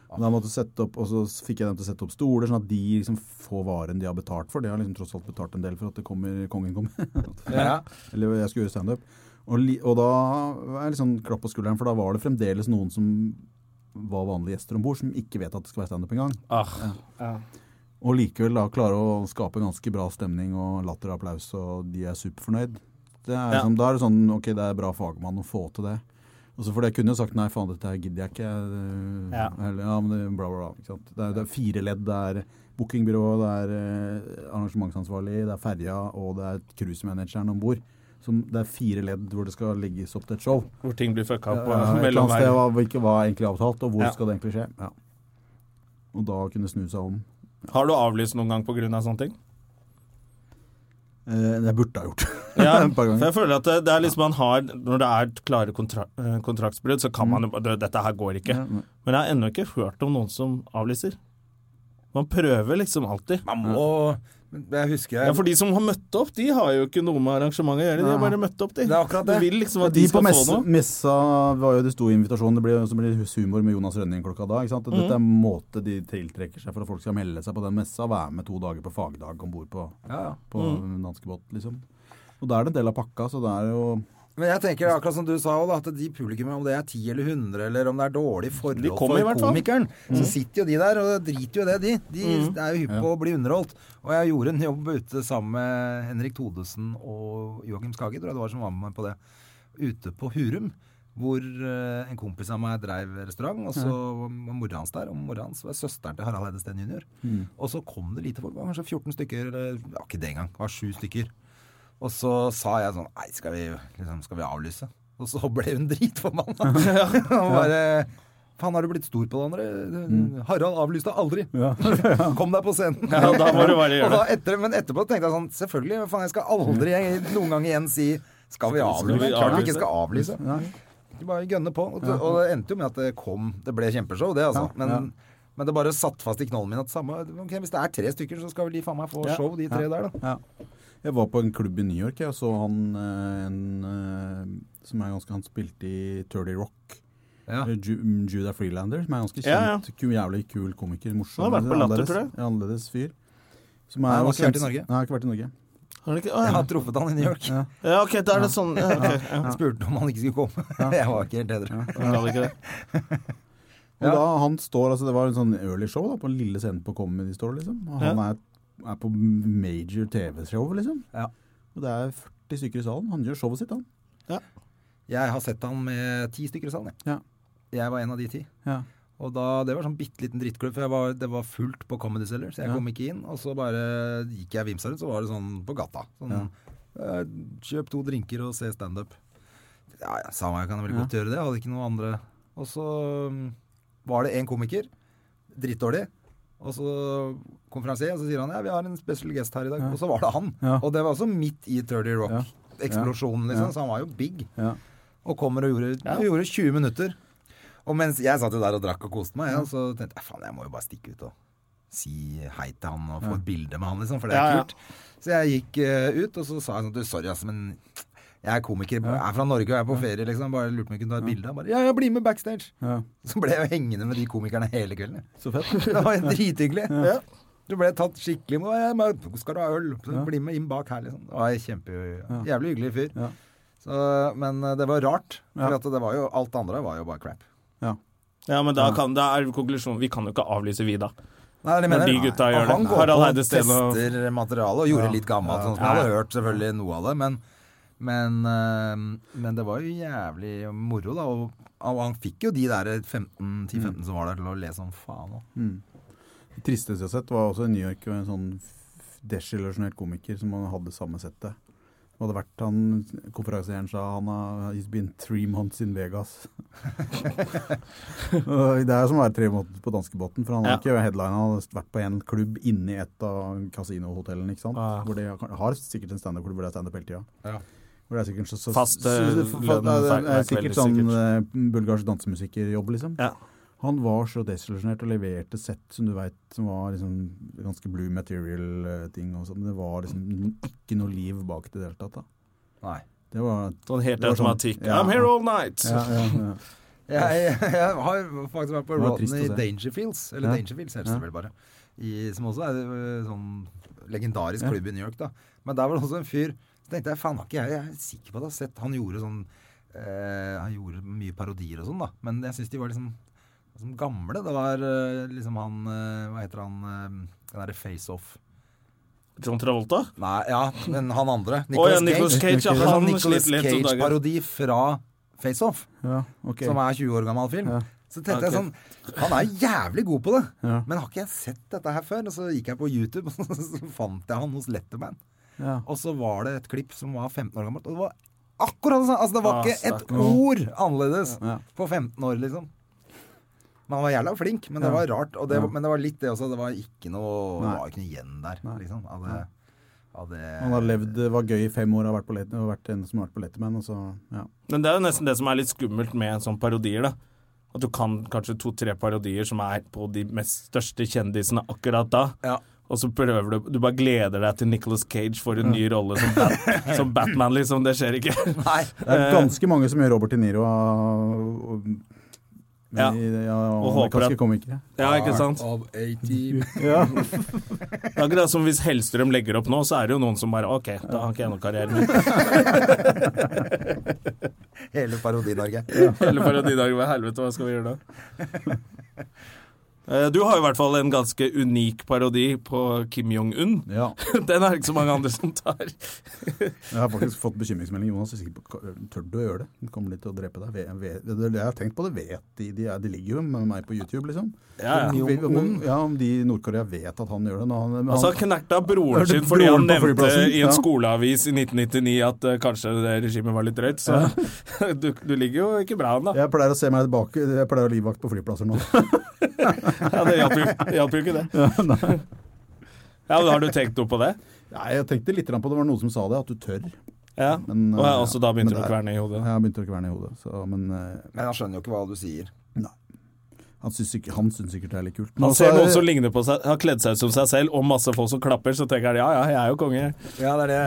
Og Da måtte jeg sette opp, og så fikk jeg dem til å sette opp stoler, sånn at de liksom får varen de har betalt for. De har liksom tross alt betalt en del for at det kommer, kongen kommer.
Ja.
Eller jeg skulle gjøre standup. Og, li- og da var jeg litt sånn klapp på skulderen, for da var det fremdeles noen som var vanlige gjester om bord, som ikke vet at det skal være standup engang.
Ah,
Og likevel da klare å skape ganske bra stemning og latter og applaus, og de er superfornøyd. Det er
Ja.
liksom, Da er det sånn Ok, det er bra fagmann å få til det. Og så for jeg kunne jo sagt nei, faen, dette her gidder jeg ikke. eh,
Ja.
Eller, ja, men det, bla, bla, bla. Ikke sant? Det, er, det er fire ledd. Det er bookingbyrå, det er eh, arrangementsansvarlig, det er ferja, og det er cruisemanageren om bord. Det er fire ledd hvor det skal legges opp til et show.
hvor ting blir fucka opp.
Ja,
og
et eller
mellom
annet sted
hver.
hva, hvilke- hva er egentlig avtalt, og hvor
Ja.
skal det egentlig skje? Ja. Og da kunne snu seg om.
Har du avlyst noen gang pga. av sånne ting?
Eh, det burde jeg ha gjort.
Ja,
Et par ganger.
for jeg føler at det, det er liksom man har Når det er klare kontra eh, kontraktsbrudd, så kan man jo bare «Du, Dette her går ikke.
Mm. Ja, men-
Men jeg har ennå ikke hørt om noen som avlyser. Man prøver liksom alltid.
Man må Jeg husker jeg
Ja, For de som har møtt opp, de har jo ikke noe med arrangementet å gjøre. De har bare møtt opp, de.
Det er akkurat det.
Du vil liksom at de,
de på
skal få
messe,
noe.
messa var jo det sto i invitasjonen. Det blir, så blir det humor med Jonas Rønning klokka da. Ikke sant? Dette er en
Mhm.
måte de tiltrekker seg for at folk skal melde seg på den messa og være med to dager på fagdag om bord på,
ja, ja.
på
Mhm.
en danskebåt, liksom. Og da er det en del av pakka, så det er jo
Men jeg tenker akkurat som du sa også, da, at de publikummene, om det er 10 eller 100, eller om det er dårlig forhold
De kommer i
for
hvert fall. Mm.
komikeren, så sitter jo de der, og driter jo det, de. De er jo hypp på å bli underholdt. Og jeg gjorde en jobb ute sammen med Henrik Todesen og Joakim Skage, tror jeg det var som var med meg på det, ute på Hurum. Hvor eh, en kompis av meg dreiv restaurant, og så var mora hans der. Og mora hans var søsteren til Harald Eide Steen jr.
Mm.
Og så kom det lite folk. Det var kanskje 14 stykker, eller ja, ikke det engang. Det var sju stykker. Og så sa jeg sånn Nei, skal vi, liksom, skal vi avlyse? Og så ble hun dritforbanna. Og bare Faen, har du blitt stor på det andre? Harald avlyste aldri. Kom deg på scenen.
Mm. Ja, da må du bare
Og
gjøre
da
det.
etter, men etterpå tenkte jeg sånn Selvfølgelig. Faen, jeg skal aldri noen gang igjen si skal vi avlyse?
vi
Klart vi
avlyse?
ikke skal avlyse. Du Bare gønne på. Og det, og det endte jo med at det kom Det ble kjempeshow, det, altså. Men, men det bare satt fast i knollen min at samme, ok, hvis det er tre stykker, så skal vel de faen meg få
Ja.
show, de tre der, da.
Ja. Jeg var på en klubb i New York, jeg, og så han eh, en eh, som er ganske Han spilte i Turdy Rock.
Ja.
Eh, Ju Judah Freelander, som er ganske kjent.
Ja,
ku- Jævlig kul komiker. Morsom.
Han har vært på Latter,
annerledes-
tror jeg.
Annerledes fyr. Som
Nei, han har
var
ikke vært i
kjent-
Norge.
Nei, han har ikke vært i Norge.
Er det ikke? Å,
Jeg
ja.
har truffet han i New York.
Ja.
ja, ok, da er det sånn. Ja, ok. ja.
Han spurte om han ikke skulle komme. Jeg var ikke helt edru.
Jeg kan ikke det.
Og da han står, altså Det var en sånn early show da, på en lille scene på Comedy Store. liksom. Og han er, er på major TV-show, liksom.
Ja.
Og det er 40 stykker i salen. Han gjør showet sitt, han.
Jeg har sett han med ti stykker i salen. jeg.
Ja.
Jeg var en av de ti.
Ja.
Og da, Det var sånn bitte liten drittklubb, for jeg var, det var fullt på Comedy Cellar, så jeg
Ja.
kom ikke inn. Og så bare gikk jeg vimsa rundt, så var det sånn på gata. Sånn, eh, Kjøp to drinker og se standup. Ja, ja, samme jeg kan vel godt gjøre det. Jeg hadde ikke noen andre. Og så mm, var det en komiker, drittdårlig, og så konferansier, og så sier han ja, vi har en special guest her i dag. Og så var det han.
Ja.
Og det var også midt i 30
Ja.
Rock-eksplosjonen,
Ja.
liksom. Så han var jo big.
Ja.
Og kommer og gjorde, gjorde 20 minutter. Og mens jeg satt jo der og drakk og koste meg, ja, så tenkte jeg faen, jeg må jo bare stikke ut og si hei til han og få et bilde med han, liksom, for det er
Ja, ja.
kult. Så jeg gikk eh, ut, og så sa jeg sånn du, sorry, ass, men jeg er komiker, jeg er fra Norge og jeg er på ferie, liksom. Bare lurte på om jeg kunne ta et bilde. Han bare ja, ja, bli med backstage.
Ja.
Så ble jeg jo hengende med de komikerne hele kvelden. jeg.
Så fett.
Det var jo drithyggelig. Du ble tatt skikkelig med. «Ja, men Skal du ha øl? Så Bli med inn bak her, liksom. Det var en kjempe, jævlig hyggelig fyr.
Ja.
Så, men eh, det var rart, for
Ja.
at det var jo, alt det andre var jo bare crap.
Ja.
Ja, men da, kan, da er konklusjonen Vi kan jo ikke avlyse Vida.
Nei, det er det jeg
Når
mener.
de gutta
Nei.
gjør det.
Han går
Harald
på
Eide
og
Steen og-
tester materialet og gjorde litt gammelt, sånn som jeg hadde hørt selvfølgelig noe av det. Men, men, eh, men det var jo jævlig moro, da. Og, og han fikk jo de der 10-15
Mm.
som var der, til å le som faen òg.
Mm. Det tristeste jeg har sett, var også i New York og en sånn f- desillusjonert komiker som han hadde samme settet. Det hadde vært han, Konferansieren sa han har he's been three months in Vegas. Og det er jo som å være tre måneder på danskebåten, for han
Ja.
har ikke headlina. Han har vært på en klubb inni et av kasinohotellene, ikke sant.
Ah.
Hvor de har, har sikkert en standup-klubb hvor det er standup hele tida.
Ja.
Hvor det er sikkert så, så,
Fast,
så,
eh,
så- fa-
lønn
det er- det
hver
er
kveld,
sikkert sånn eh, bulgarsk dansemusikerjobb, liksom.
Ja.
Han var så desillusjonert og leverte sett som du veit som var liksom ganske blue material-ting. og sånn, Men det var liksom ikke noe liv bak det i det hele tatt. da.
Nei.
Det var
Sånn helt
Det var sånn-
automatikk.
ja.
I'm here all night!
ja, ja, ja.
Jeg, jeg har faktisk vært på
Det var trist
Rodney
å se.
Dangerfields, eller
Ja.
Dangerfields heter det
Ja.
vel bare, i, som også er øh, sånn legendarisk
Ja.
klubb i New York. da. Men der var det også en fyr så tenkte jeg, faen har ikke jeg, jeg er sikker på at jeg har sett Han gjorde sånn eh, Han gjorde mye parodier og sånn, da. Men jeg syns de var liksom, liksom gamle. Det var eh, liksom han eh, Hva heter han eh, Den derre Face Off.
John Travolta?
Nei, ja, men han andre.
Å ja,
Nicholas
Nicolas
Cage.
Cage. Ja,
Det var sånn
han
Nicolas
slet litt om dagen.
Cage-parodi fra Face Off
ja, ok.
som er 20 år gammel film.
Ja.
Så tenkte
Ok.
jeg sånn Han er jævlig god på det,
Ja.
men har ikke jeg sett dette her før? Og så gikk jeg på YouTube, og så fant jeg han hos Letterman.
Ja.
Og så var det et klipp som var 15 år gammelt, og det var akkurat det samme! Altså, det var
Ah,
ikke et
stakkars.
ord annerledes
Ja.
på 15 år, liksom. Men han var jævla flink, men det
Ja.
var rart. Og det,
Ja.
Men det var litt det også. Det var ikke noe, det
Nei.
var ikke noe igjen der, liksom. Av det, av det
Han har levd, det var gøy i fem år, har vært, på let, har vært en som har vært på Letterman. Og så, ja.
Men det er jo nesten det som er litt skummelt med sånne parodier, da. At du kan kanskje to-tre parodier som er på de mest største kjendisene akkurat da.
Ja.
Og så prøver du Du bare gleder deg til Nicolas Cage får en ny rolle som, Bat som Batman, liksom. Det skjer ikke.
Nei.
Det er ganske mange som gjør Robert De Niro av, av,
Ja.
i- ja,
Og
av
håper at-
amerikanske komikere.
Ja, ikke sant?
Av 80
Ja.
Det er Akkurat som hvis Hellstrøm legger opp nå, så er det jo noen som bare OK, da har ikke jeg noen karriere med.
Hele Parodi-Norge.
Hele parodidagen, hva i helvete, hva skal vi gjøre da? Eh, Du har jo i hvert fall en ganske unik parodi på Kim Jong-un.
ja.
Den er det ikke så mange andre som tar.
Jeg har faktisk fått bekymringsmelding. Jonas, jeg er sikker på, tør du å gjøre det? Den kommer de til å drepe deg? Ve- ve- det- det- Jeg har tenkt på det. Vet de, de, er- de ligger jo med meg på YouTube, liksom.
Ja, ja.
Om- om- ja, om de i Nord-Korea vet at han gjør det. Når han, men
Altså,
han,
han knerta broren
Hørte
sin fordi han
broren på
nevnte
flyplassen,
i en
ja.
skoleavis i 1999 at eh, kanskje det regimet var litt drøyt, så du, du ligger jo ikke bra an, da.
jeg pleier å se meg tilbake, jeg pleier å livvakt på flyplasser nå.
Ja, det hjalp jo, hjalp jo ikke det. Ja, men Har du tenkt noe på det?
Nei, jeg tenkte litt grann på det, det var noen som sa det, at du tør.
Ja.
Men,
Og jeg,
eh,
også da
men
begynte du å
det er-
kverne i hodet.
Ja, jeg begynte å kverne i hodet. Så, men eh,
Men han skjønner jo ikke hva du sier.
han syns sikkert, han syns sikkert Altså, det er litt kult. Men
Han
også
ser
er-
noen som ligner på seg, har kledd seg ut som seg selv, og masse folk som klapper, så tenker han ja, ja, jeg er jo konge.
Ja, det er det.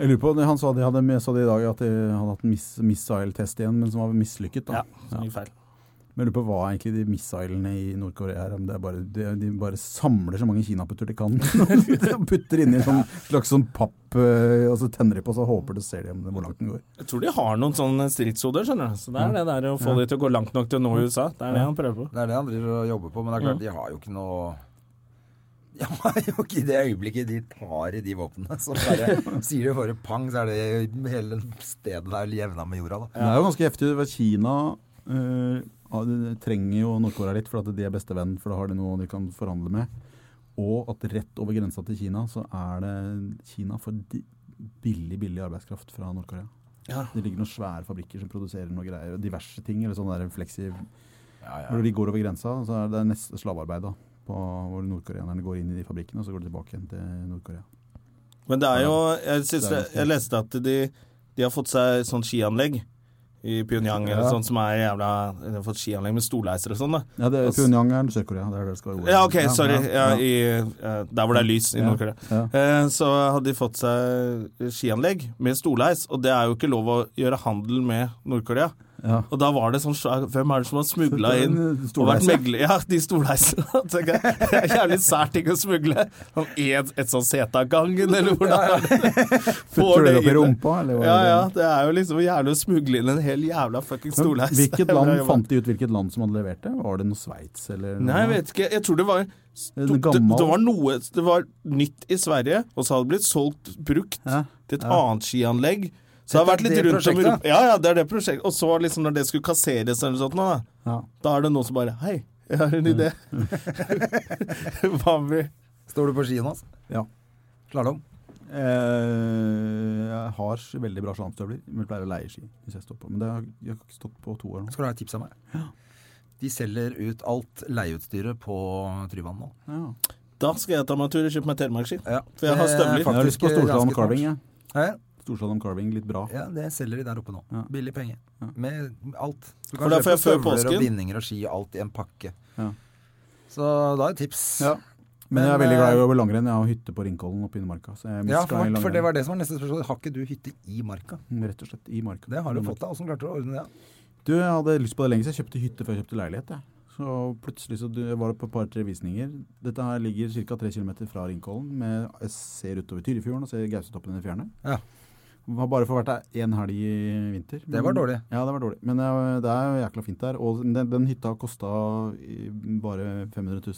jeg lurer på, han sa, de hadde, eh, jeg så det i dag at de hadde hatt en miss, missile-test igjen, men som var mislykket. da.
Ja, så mye feil.
Men jeg lurer på hva er egentlig de missilene i Nord-Korea er. Om det er bare, de, de bare samler så mange kinapupper de kan. og putter inni en sånn, slags sånn papp, eh, og så tenner de på, så håper de ser de om det, hvor langt den går.
Jeg tror de har noen sånne stridshoder, skjønner du. Så det er det der å få de til å gå langt nok til å nå USA. Det er det han prøver på.
Det er det han driver og jobber på, men det er klart, de har jo ikke noe De har jo ikke i det øyeblikket de tar i de våpnene, så bare sier de bare pang, så er det hele stedet der jevna med jorda, da.
Det er jo ganske heftig. for Kina eh, ja, det trenger jo Nord-Korea litt, for at de er bestevenn, for da har de noe de kan forhandle med. Og at rett over grensa til Kina, så er det Kina for di- billig, billig arbeidskraft fra Nord-Korea. Det ligger noen svære fabrikker som produserer noe greier, og diverse ting. eller sånn der fleksi... Når de går over grensa, så er det neste slavearbeid. da, på hvor nordkoreanerne går inn i de fabrikkene, og så går de tilbake igjen til Nord-Korea.
Men det er jo Jeg, synes,
Det er
det- jeg leste at de, de har fått seg sånn skianlegg i Pyongyang, eller
Ja.
sånn som er jævla De har fått skianlegg med stolleiser og sånn, da.
Ja, det er Pyongyang er Sør-Korea. det er der det skal gå.
Ja, OK, sorry. Ja,
ja.
i, eh, der hvor det er lys i
Ja,
Nord-Korea.
ja.
Eh, Så hadde de fått seg skianlegg med stolheis, og det er jo ikke lov å gjøre handel med Nord-Korea.
Ja.
Og da var det sånn svær- Hvem er det som har smugla
Det er
inn
en
og vært
stolheis, ja.
megler? Ja, de stolheisene. tenker jeg. Det er jævlig sær ting å smugle. Sånn et, et sånn sete av gangen, eller hvordan er det? Får
Putter du det opp i
inn-
rumpa, eller hva
Ja,
er det?
ja. Det er jo liksom jævlig å smugle inn en hel jævla fucking
Men
stolheis.
Sånn, Hvilket
Det er bra
land
jobba.
fant de ut hvilket land som hadde levert det? Var det noe Sveits eller noe?
Nei, jeg vet ikke. Jeg tror det var
En
tok, det,
gammel-
det var noe Det var nytt i Sverige, og så hadde det blitt solgt brukt
Ja,
til et
ja.
annet skianlegg. Så det har
Dette
vært
er
litt rundt
det
om i
prosjektet?
Europa. Ja, ja, det er det prosjektet. Og så liksom når det skulle kasseres eller sånt nå, da,
Ja.
da er det noen som bare Hei, jeg har en idé. Hva om vi
Står du på ski, Jonas?
Ja.
Slalåm?
Eh, jeg har veldig bra slalåmstøvler, men jeg pleier å leie ski hvis jeg står på. Men det har jeg har ikke stått på to år nå.
Skal du ha et tips av meg? De selger ut alt leieutstyret på Tryvann nå.
Ja.
Da skal jeg ta meg en tur og kjøpe meg telemarkski.
Ja.
For jeg har
Det er
støvler.
Jeg har lyst på
ganske
Storslalåm
smart.
carving. jeg.
Hæ?
Storslalåm carving, litt bra.
Ja, det selger de der oppe nå.
Ja.
Billig penge.
Ja.
Med alt. Du
For da får jeg før
og
påsken.
bindinger og ski og alt i en pakke.
Ja.
Så da er et tips.
Ja. Men, eh, jeg er veldig glad i å gå langrenn. Jeg har hytte på Rinkollen oppe i Marka. Så jeg
Ja,
skal i
for, for det
langrenn.
var det som var neste spørsmål. Har ikke du hytte i marka?
Rett og slett i Marka.
Det har du
I
fått deg. Åssen klarte du å ordne det?
Du, jeg hadde lyst på det lenge, så jeg kjøpte hytte før jeg kjøpte leilighet. Jeg. Så plutselig så du- jeg var det på et par-tre visninger. Dette her ligger ca. 3 km fra Ringkollen. Med, jeg ser utover Tyrifjorden og ser Gausetoppen i det fjerne.
Ja.
Har bare fått vært der én helg i vinter.
Det var dårlig.
Ja, det var dårlig. Men eh, det er jo jækla fint der. Og den, den hytta kosta eh, bare 500 000.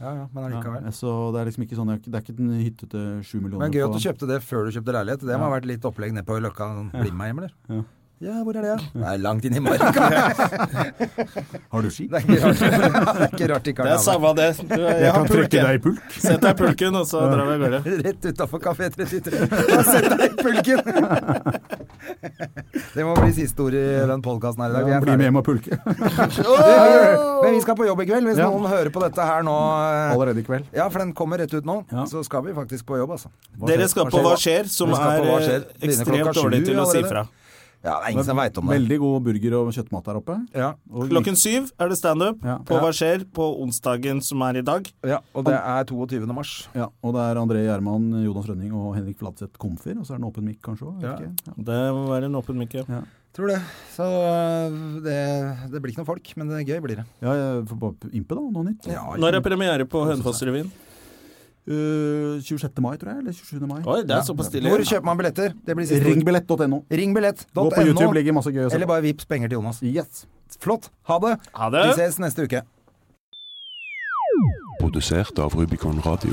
Ja, ja, men allikevel.
Ja, Så det er liksom ikke sånn jeg- Det er ikke en hytte til 7 millioner.
Men gøy at
på-
du kjøpte det før du kjøpte leilighet. Det må ha vært litt opplegg nede på Løkka. Sånn, Bli med meg hjem, eller?
Ja.
Ja, hvor er det? Ja? Det er langt inn i marka.
Har du ski?
Det er ikke rart, det er ikke rart de
Det
ikke
er
har det.
samme det. Du, Jeg har pulken.
i pulk.
Sett deg i pulken, og så drar vi av gårde.
Rett utafor Kafé 33. Og Sett deg i pulken! Det må bli siste ord i den podkasten her i dag. Vi er
Bli med
ferdige.
hjem og pulke.
Men vi skal på jobb i kveld. Hvis
Ja.
noen hører på dette her nå eh,
Allerede i kveld.
Ja, for den kommer rett ut nå.
Ja.
Så skal vi faktisk på jobb, altså.
Dere skal på Hva skjer?, som
Dere skal
er
på Hva
eh,
skjer? Begynner klokka
ekstremt dårlig
sju
til å si
allerede.
fra.
Ja, det er ingen som veit om det.
Veldig god burger og kjøttmat der oppe.
Ja,
Og
Klokken syv er det standup
Ja.
på Hva skjer? på onsdagen som er i dag.
ja, og det er 22. mars.
Ja, og det er André Gjerman, Jonas Rønning og Henrik Fladseth Komfyr. Og så er det en åpen mic, kanskje òg.
Ja.
Ja.
Det må være en åpen mic. ja.
Tror det. Så øh, det, det blir ikke noe folk, men det er gøy blir det.
ja, jeg får bare impe, da. Noe nytt.
Ja,
Når er premiere på Hønefoss-revyen?
Eh, 26. mai, tror jeg. Eller 27. mai.
Oi, det er såpass tidlig.
Hvor kjøper man billetter? Det blir siste ord.
Ringbillett.no.
Ringbillett.no.
Gå på YouTube, ligger masse gøy å se.
Eller bare vips penger til Jonas.
Yes.
Flott. Ha det.
Ha
Vi
det!
ses neste uke.
Produsert av Rubicon Radio.